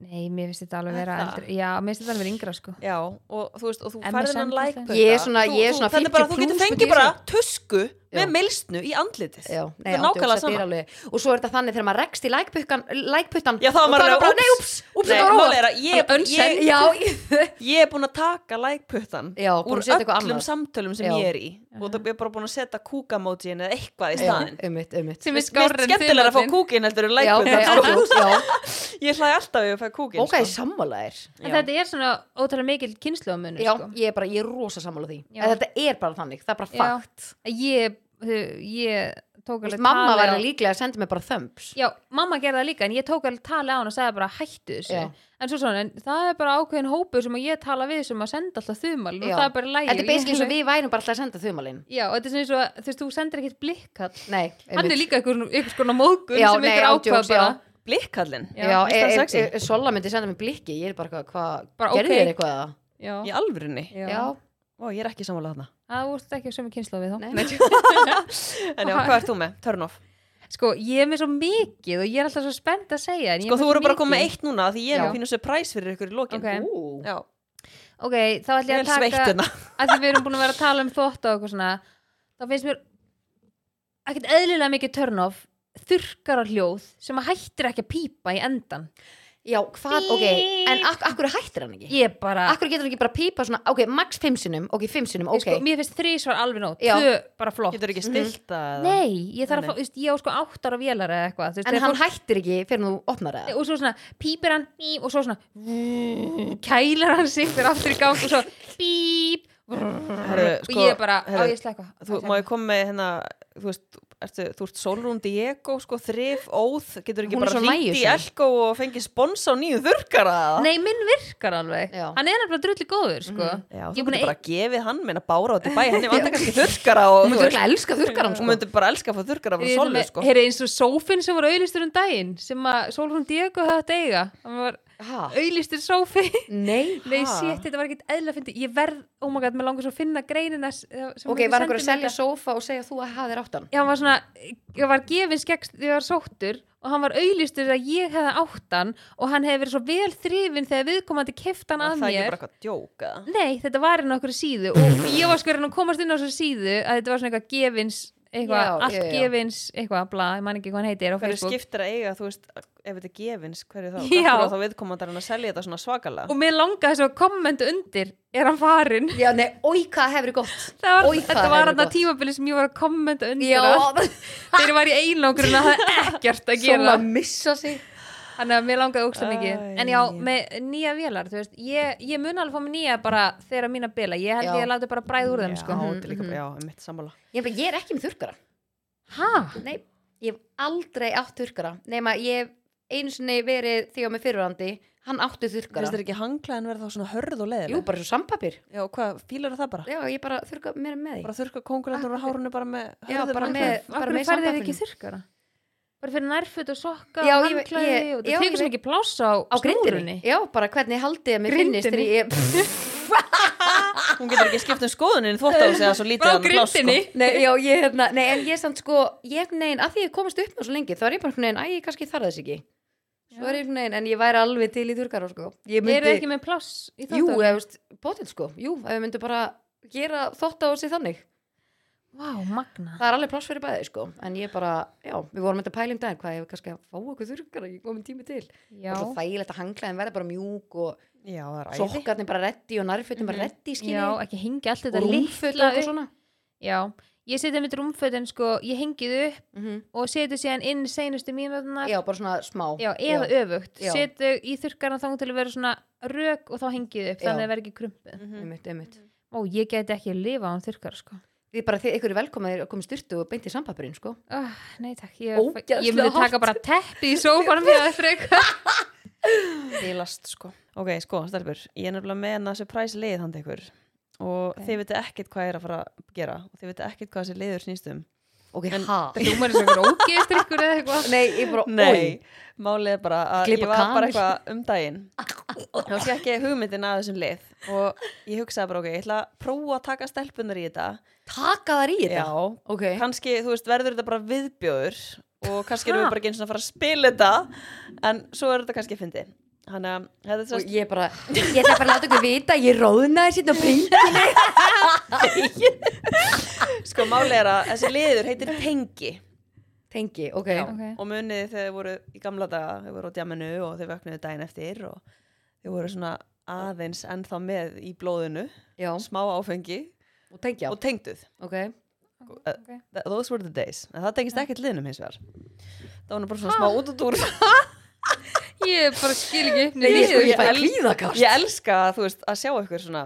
nei, mér finnst þetta alveg Er vera það? eldri já, mér finnst þetta alveg vera yngra sko já, og þú veist, og þú En með færðir hann samkvæmt like það. putta. Ég er svona- Þú- ég er þú- svona þannig bara 50 þú getur plús, myndi fengið ég bara segja. tusku Já. með milsnu í andlitið Já, það nei, er ándjóks, nákvæmlega þetta er sama alveg Og svo er þetta þannig þegar maður rekst í lækputtan Lækputtan Já, þá er maður alveg, bara, nei, úps, úps, úps, Nei, þetta var málið óvart er að ég, Hann ég, unsend. Já, ég- ég er búin að taka lækputtan Já, búin úr að setja eitthvað öllum annað. samtölum sem Já. ég er í og það er bara búin að setja kúkamótin eða eitthvað í Já, staðin einmitt, einmitt sem er skárri en skemmtilega að fá þumalinn. kúkin heldur en Já, ok, lækputtan sko. ándjóks, já Ég hlæ alltaf ef ég fæ kúkin sko. Ok, sammálaðir en þetta er svona ótrúlega mikil kynnslóðamunur Já, sko. ég er bara, ég er rosa sammála því Já. En þetta er bara þannig, það er bara Já. fakt ég, ég tók Vist, alveg Mamma tali væri á- líklega að senda mér bara þömbs Já, mamma gerði það líka en ég tók alveg tali á hann og sagði bara hættu þessu Já. en svo svona, en það er bara ákveðin hópur sem að ég tala við sem að senda alltaf þumal og Já. það er bara lægi Þetta er basically eins og við værum bara alltaf að senda þumalinn Já, og þetta er svona eins og, þú veist, þú sendir ekkert blikkall Nei, Hann er líka einhver, einhver skona móðgun Já, sem nei, einhver ákvað ándjóks, bara já. Blikkallinn? Já, Já, e, finnst það ef- sexy? ef- ef Sola myndi senda mér blikki, ég er bara eitthvað, Bara, hvað, gerði ok. þér eitthvað eða? Já, Í alvörinni? Já. Já, Ó, ég er ekki sammála þarna. það vorst ekki á sömu kynslu við þá Nei. En já, hvað ert þú með? Turn off. Sko, ég er með svo mikið og ég er alltaf svo spennt að segja en ég er Sko, með þú svo voru bara að koma með mikið. eitt núna því ég er Já. með pínu surprise fyrir ykkur í lokin. Ok. Ú. Já, Ok, þá ég er ætlum ég að sveitt taka hérna. að því við erum búin að vera að tala um þvott og eitthvað svona þá finnst mér ekkert eðlilega mikið turn off þurkar á hljóð sem að hættir ekki að pípa í endan Já, hvað, ok, en ak akkur hættir hann ekki? ég bara, Akkur getur hann ekki bara pípa svona, ok, max 5 sinum, ok, 5 sinum, ég ok sko, mér finnst þrísvar alveg nót Já. tvö bara flott Getur ekki stilt að... nei, ég þarf Nei, að fá, þú veist, ég á sko átt ára vélar eða eitthvað þú veist, En þegar hann hættir ekki fyrir nú opnar fólk- það og svo svona pípir hann bíp, og svo svona kælar hann sig fyrir aftur í gang og svo bíp Herru, og ég sko, er bara, á herru, ég slekka Þú, má ég koma með hérna, þú veist, þú- ertu, þú ert Solrún Diego, sko, þrif, óð, getur ekki Hún er bara svo hringt nægjusöm. í Elko og fengið spons á nýju þurrkara? nei, minn virkar alveg Já. hann er nefnilega drulli góður sko. Mm, Já, þú Ég er getur búin að- bara gefið hann meina bára átt í bæ, henni vantar kannski þurrkara og Hún þú myndi veist, örugglega elska þurrkarann, hún sko. myndi bara elska að fá þurrkara frá Við erum Solu, með- hérna sko. Heyrðu eins og sófinn sem var auðlistur um daginn sem að Sólrún Diego hafði átt að eiga hann var Ha? auðlistur sófi Nei, Nei, Ha? sétt, þetta var ekkert eðla fyndi ég verð, oh my god, mér langar svo að finna greinina s- eh, sem ok, einhver var sendi einhver að mér selja þetta. sófa og segja þú að hafa þér áttan? Já, hann var svona, ég var gefins gegst þegar ég var sóttur og hann var auðlistur að ég hefði áttan og hann hefði verið svo vel þrifin þegar viðkomandi keftan Það er af ekki mér bara eitthvað djók, eða? Nei, þetta var inn á okkur síðu og ég var sko að reyna að komast inn á þessu síðu að þetta var svona eitthvað gefins eitthvað, Já, allt já, já. gefins, eitthvað, bla, ég man ekki hvað hann heitir á hverju Facebook skiptir að eiga, þú veist, ef þetta er gefins hverju þá, Já. hverju þá viðkomandar hann að selja þetta svona svakalega og mér langaði svo að kommenta undir er hann farinn Já, nei, oi, hvað hefur gott Það var, Oj, hvað þetta það var hefur hann að gott. tímabili sem ég var að kommenta undir Já, allt þegar ég var í einangrun að það er ekkert að Sola gera missa sig þannig að mér langaði ógsta mikið Æ. en já, með nýja vélar, þú veist ég, ég mun alveg fá mig nýja bara þegar mína bila ég held Já. ég að láta bara bræð úr þeim já, sko. þetta er líka, já, mitt sammála Ég er bara- ég er ekki með þurrkara ha? Nei, ég hef aldrei átt þurrkara Nefna, ég hef einu sinni verið þegar með fyrirrandi Hann átti finnst þurrkara þér ekki hanglaðin verða þá svona hörð og Jú, leðileg bara svo sambapir já, og hvað, fílar það bara? Já, ég bara þurrka mér með því bara þurrka kongulendur og hárunu bara með Já, hörðum bara handklæðum. með- Af bara hverju með færði þið ekki sambandinu. þurrkara? bara fyrir nærföt og sokka Já, og ég- handklæði ég- og já, það ég tekur svo veit. mikið pláss á, á grindinni snúrunni. já, bara hvernig haldið að mér finnist þegar ég, Hún getur ekki skipt um skoðunin þvótt á sig að svo lítið Frá hann pláss sko. grindinni. nei, já, ég, hérna, nei, en ég samt sko ég, nein, að því ég komast upp með svo lengi þá er ég bara nein, æ, ég kannski þarf þess ekki svo er ég nein, en ég væri alveg til í þurkar sko. ég Eru þið myndi, ekki með pláss í jú, þáttunum? eða, veist, bótið sko jú, ef við myndum bara gera þótt á sig þannig Vá, magna það er alveg pláss fyrir bæði sko en ég bara, já, við vorum þetta pæling daginn hvað ég var kannski að fá okkur þurrkara, ég komið tími til Já, það er svo þægilegt að hangla en verða bara mjúk og Já, það er æði. sokkarnir bara reddi og nærfötum bara reddi Mhm. já skilja ekki hengi allt og þetta rúmföt og litla eitthvað upp. svona Já, ég seti mitt rúmfötin sko, ég hengið upp Mhm. og seti síðan inn seinustu mínúturnar já, bara svona smá Já, eða öfugt, Já. setu í þurrkarna þangum til að vera svona rök og þá hengið upp Já. þannig að það verði ekki krumpið Mhm. einmitt, einmitt. Ó, ég gæti ekki að lifa án þurrkar sko Við bara, þið, ykkur er velkomið að koma í styrtu og beint í sambapurinn, sko. oh, Nei takk, ég, Ógeðslega ég myndi taka hátt. bara teppi í sófanum fyrir að þrauka Fílast sko. Ok, sko, stelpur, ég er nefnilega með hennar surprise leið handa ykkur og þið veitu ekkit hvað ég er að fara að gera og þið veitu ekkit hvað þessi leiður snýst um. Ok, ha? Þú maður sem er ógeðstrykkur eða eitthvað Nei, ég bara, Nei, málið er bara að Klippa ég var kanil. bara eitthvað um daginn þá fekk ég hugmyndin að þessum leið og ég hugsaði bara, ok, ég ætla að prófa að taka stelpunar í þetta oj, taka þar í þetta? Já, Ok, kannski, þú veist, verður þetta bara viðbjóður og kannski erum við bara ekki eins og að fara að spila þetta en svo er þetta kannski að fyndi Þannig að þetta er og sérst ég bara, ég ætla bara að láta ykkur vita, að ég róðnaði sérna og bringi. sko máli er að þessi liður heitir tengi Tengi, ok. Ok. og munið þið þegar þið voru í gamla daga þau voru á djaminu og þau vöknuðu daginn eftir og þau voru svona aðeins ennþá með í blóðinu Já, smá áfengi og tengja, og tengduð Uh, ok. Th- Those were the days, en það tengist ekkert liðnum hins vegar það var nú bara svona smá út og dúr Ég bara skil ekki upp Nei, ég, sko, niður. ég fæ el- klíðakast. ég elska að þú veist að sjá ykkur svona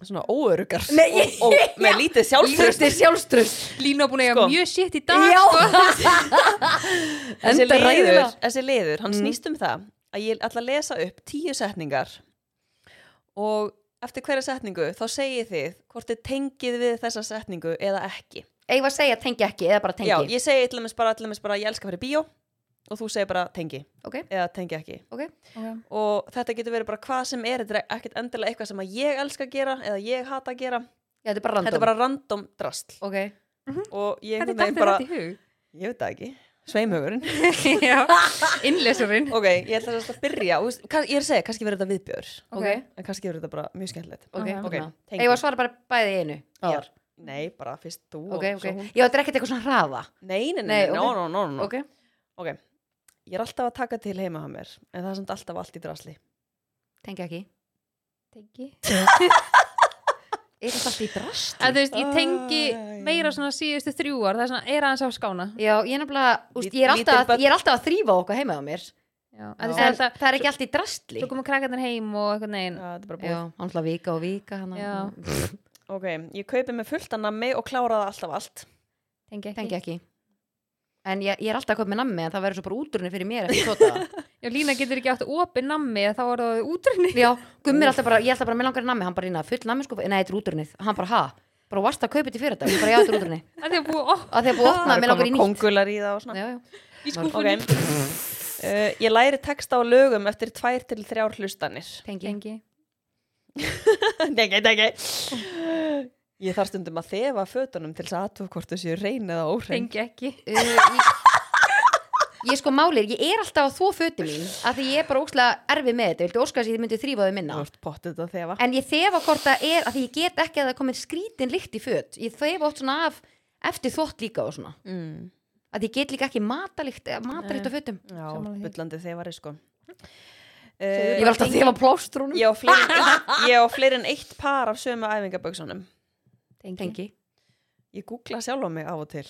svona óörugar Nei, ég- og, og með lítið sjálfströst Sjálfströsti, sjálfströst. Lína búin að eiga Sko. mjög sitt í dag Já. sko. þessi Enda Mm. liður, ræðilega. þessi liður, hann snýst um það að ég ætla að lesa upp tíu setningar og eftir hverja setningu þá segið þið hvort þið tengið við þessa setningu eða ekki Eigum að segja tengi ekki, eða bara tengi. já, ég segi til dæmis bara, til dæmis bara ég elska fyrir bíó og þú segir bara tengi Ok, eða tengi ekki ok. Ok. og þetta getur verið bara hvað sem er þetta er ekkert endilega eitthvað sem að ég elska að gera eða ég hata að gera Já, þetta er bara random. þetta er bara random drastl Ok. og ég einhvern Hvernig dætti veginn bara, þetta í hug? ég veit það ekki sveimhugurinn, Já, innlesurinn ok, ég ætla þess að byrja og, kann, ég er að segja, kannski verður þetta viðbjör Ok. en kannski verður þetta bara mjög skemmtilegt Ok, Aha. ok. Ok, tengjum. Ég var svara bara bæði í einu. Já. nei, bara fyrst þú Ok, og ok. svo hún Mm. Já, þetta er ekkert eitthvað svona hraða. nei, nei, nei, Nei, nei, no, ok. no, no, no. Ok. ok, ég er alltaf að taka til heima hann mér, en það er samt alltaf allt í drasli Tengi ekki. Tengi Er þetta allt í drast? En þú veist, ég tengi Æ. meira svona síðustu þrjú ár, það er svona, er aðeins á skána. Já, ég er nefnilega, úst, ég, er Lítil alltaf, börn. að- ég er alltaf að þrýfa okkur heima á mér. Já, Já. en þú En veist, alltaf, það er ekki allt í drastli. svo koma krakkarnir heim og eitthvað neginn. það er bara búið Mm. Já, alltaf vika og vika. Hana. Já. ok, ég kaupi mig fullt að nammi og klára það alltaf allt Tengi ekki. Tengi ekki. En ég, ég er alltaf að köpa með nammi en það verður svo bara útrunni fyrir mér eftir tóta. Já, Lína getur ekki átt opið nammi, þá er það útrunni. Já, Gummi er alltaf bara, ég er alltaf bara með langar í nammi, hann bara rýna full nammi sko, nei, þetta er útrunnið. Hann bara, ha, bara varst að kaupa þetta í fyrir þetta, bara já, þetta er útrunnið. Það er búið opið Að því að búið að opna, það Ah, með er langar í nýtt. kongular í það og svona Já, já. í ok, skúfunni. uh, ég læri texta á lögum eftir tvær til þrjár hlustanir Tengi. Tengi. Nei, nei, nei, nei. Ég þarf stundum að þefa fötunum til þess að aðtöf hvort þau séu reyn eða óreyn. Tengi ekki. Uh, ég, ég sko málir, ég er alltaf að þvó fötu mín að því ég er bara ókslega erfið með þetta viltu óskast ég myndi þrýfa þau minna Þú ert pottið að þefa. en ég þefa hvort það er að því ég get ekki að það komið skrítin lykt í föt ég þefa oft svona af eftir þvott líka og svona Mm. að ég get líka ekki matalikt eh, matalikt á fötum Já, Sammála því. byllandi þefari sko. Eh, ég var alltaf að þefa plástrúnum Ég á fleiri en eitt, ég á fleiri en eitt par af sömu æfingaböksunum. Tengi. Tengi. Ég googla sjálf á mig af og til.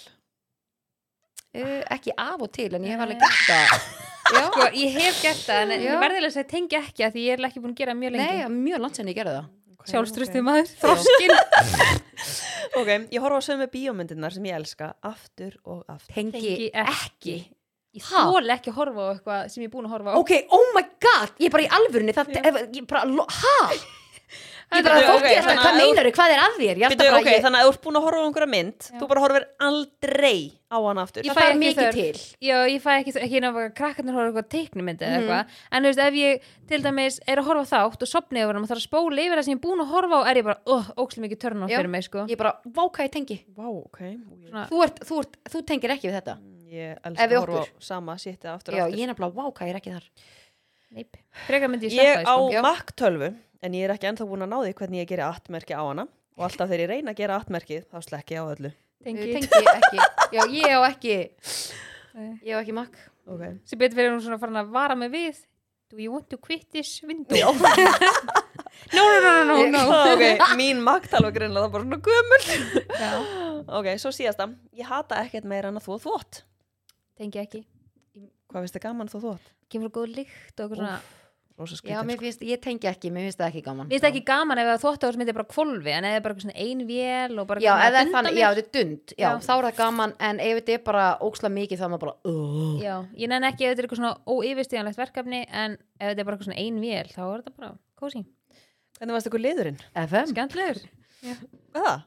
Uh, ekki af og til en ég hef alveg gert það Sko, ég hef gert það, en Já. ég verðilega að segja tengi ekki að því ég er ekki búin að gera mjög lengi. nei, mjög langt sem ég gerði það Sjálfstrustið maður, þroskinn. Ok, ég horfa á sömu bíómyndirnar sem ég elska aftur og aftur. Tengi, Tengi ekki. Ég Ha? þóla ekki að horfa á eitthvað sem ég er búin að horfa á. ok, oh my god, ég er bara í alvörunni það, ef, ég bara, lo- ha? Ég bara, Bíddu, fólk ok, er alltaf, þannig hvað að- meinar þau, hvað er að þér? Ég er alltaf Bíddu, bara, ok, ég, þannig að þú ert búin að horfa á einhverja mynd Já. þú bara horfir aldrei á hana aftur ég Ég fæ fæ ekki mikið þörf. til Já, ég fæ ekki, ekki náttúrulega krakkarnir horfa á eitthvað teiknumyndi eða Mhm. eitthvað en þú veist, ef ég til dæmis er að horfa á þátt og sopni yfir hann og þarf að spóla yfir það sem ég er búin að horfa á er ég bara, oh, ókslega mikið törn á Já. fyrir mig sko. Ég bara, vá hvað ég tengi Vá, ok Svona- þú, ert, þú, ert, þú tengir ekki við þetta Mm, Ég Ef elskar við að horfa á okkur. sama sétti aftur og Já, aftur ég er nefnilega, vá hvað ég er ekki þar Neip. frekar myndi ég Ég sleppa á því sko. Já. Mac 12 en ég er ekki ennþá búin að ná því hvernig ég gerir attmerki á hana og alltaf þegar ég reyna að gera attmerkið þá slekki ég á öllu Tengi. Ég tengi ekki, já ég á ekki Nei. Ég á ekki makk okay. sem betur verið hún svona farin að vara mig við do you want to quit this window Já. no, no, no, no, no, no. Ah, okay. Mín Mac 12 greinlega það er bara svona gömul Já, Ok, svo síðasta Ég hata ekkert meira en að þú þvott tengi ekki Hvað finnst þið gaman þú þvott? kemur góð lykt og eitthvað svona Rósa Já, skrítið mér sko. finnst, ég tengi ekki, mér finnst það ekki gaman Mér finnst það ekki gaman ef það þóttu á sem þetta er bara kvolfi en ef það er bara eitthvað svona ein vél og bara Já, eitthvað ef það er að dunda þannig, mér. já, þetta er dund Já, Já. þá er það gaman, en ef þetta er bara óksla mikið þá er maður bara, sko. uh, Já, ég nenni ekki ef þetta er eitthvað svona óyfirstíðanlegt verkefni en ef þetta er bara eitthvað svona ein vél þá er þetta bara kósi, Hvernig varst ykkur liðurinn? FM skemmtilegur Hvað er það?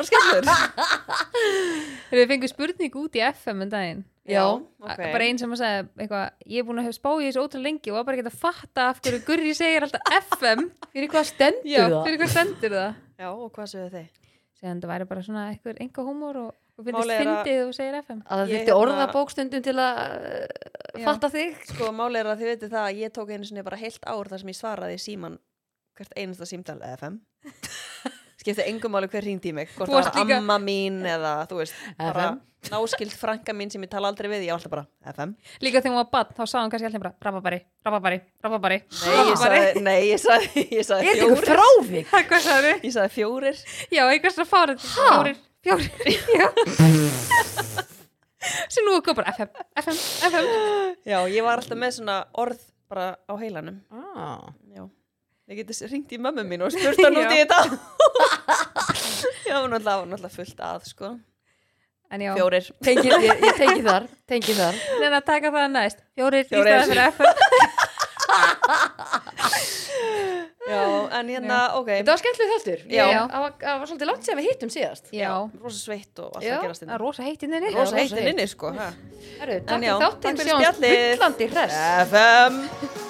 Var skemmtlur? Þegar við fengum spurning út í FM um daginn Já, A- ok bara einn sem að segja eitthvað, ég er búin að hafa spáið í þessu ótrúlega lengi og var bara ekki að fatta af hverju Gurri segir alltaf FM Fyrir hvað stendur Já, það? fyrir hvað sendir það Já, og hvað séu þið? segja þetta væri bara svona eitthvað enga húmór og, og finnst Málið er að- fyndið og segir FM Að Ég það þurfti hérna- orðabókstundum til að uh, Já. fatta þig Sko, máli er að þið veitir það að ég tók einu sinni bara heilt ár þar sem ég svaraði í síman hvert einasta símtal FM skipti engum máli hver hringdi í mig hvort Þú það varst var líka- amma mín eða þú veist, bara FM. náskild franka mín sem ég tala aldrei við, ég var alltaf bara FM líka þegar hún var bann, þá sagði hún kannski alltaf bara rababari, rababari, rababari Nei, ég sagði, nei, ég sagði, ég sagði Er þetta ykkur fjórir frávik? hvað sagði Ég sagði fjórir Já, eitthvað svona fárið Fjórir, fjórir Já Sem nú er komið bara FM, FM, FM Já, ég var alltaf með svona orð bara á heilanum Ah. Já, ég geti hringt í mömmu mín og spurt hann út í Já. þetta Já, hún var náttúrulega- náttúrulega fullt að, sko En já, Fjórir Tengi, ég, ég tengi þar, tengi þar neina að taka það næst Fjórir, Fjórir. fjórir. í staðan fyrir FM Já, en hérna, ok Þetta var skemmtileg þáttur Já. Ég- Það var, það var svolítið langt sem við hittum síðast Já, rosa sveitt og allt Já, að gerast það er hérna rosa heitt inn henni rosa rosa heitt. heitt inn inni sko ha. Herru, En Takk já, fyrir takk þáttin fyrir Sjáumst spjallið. byllandi hress FM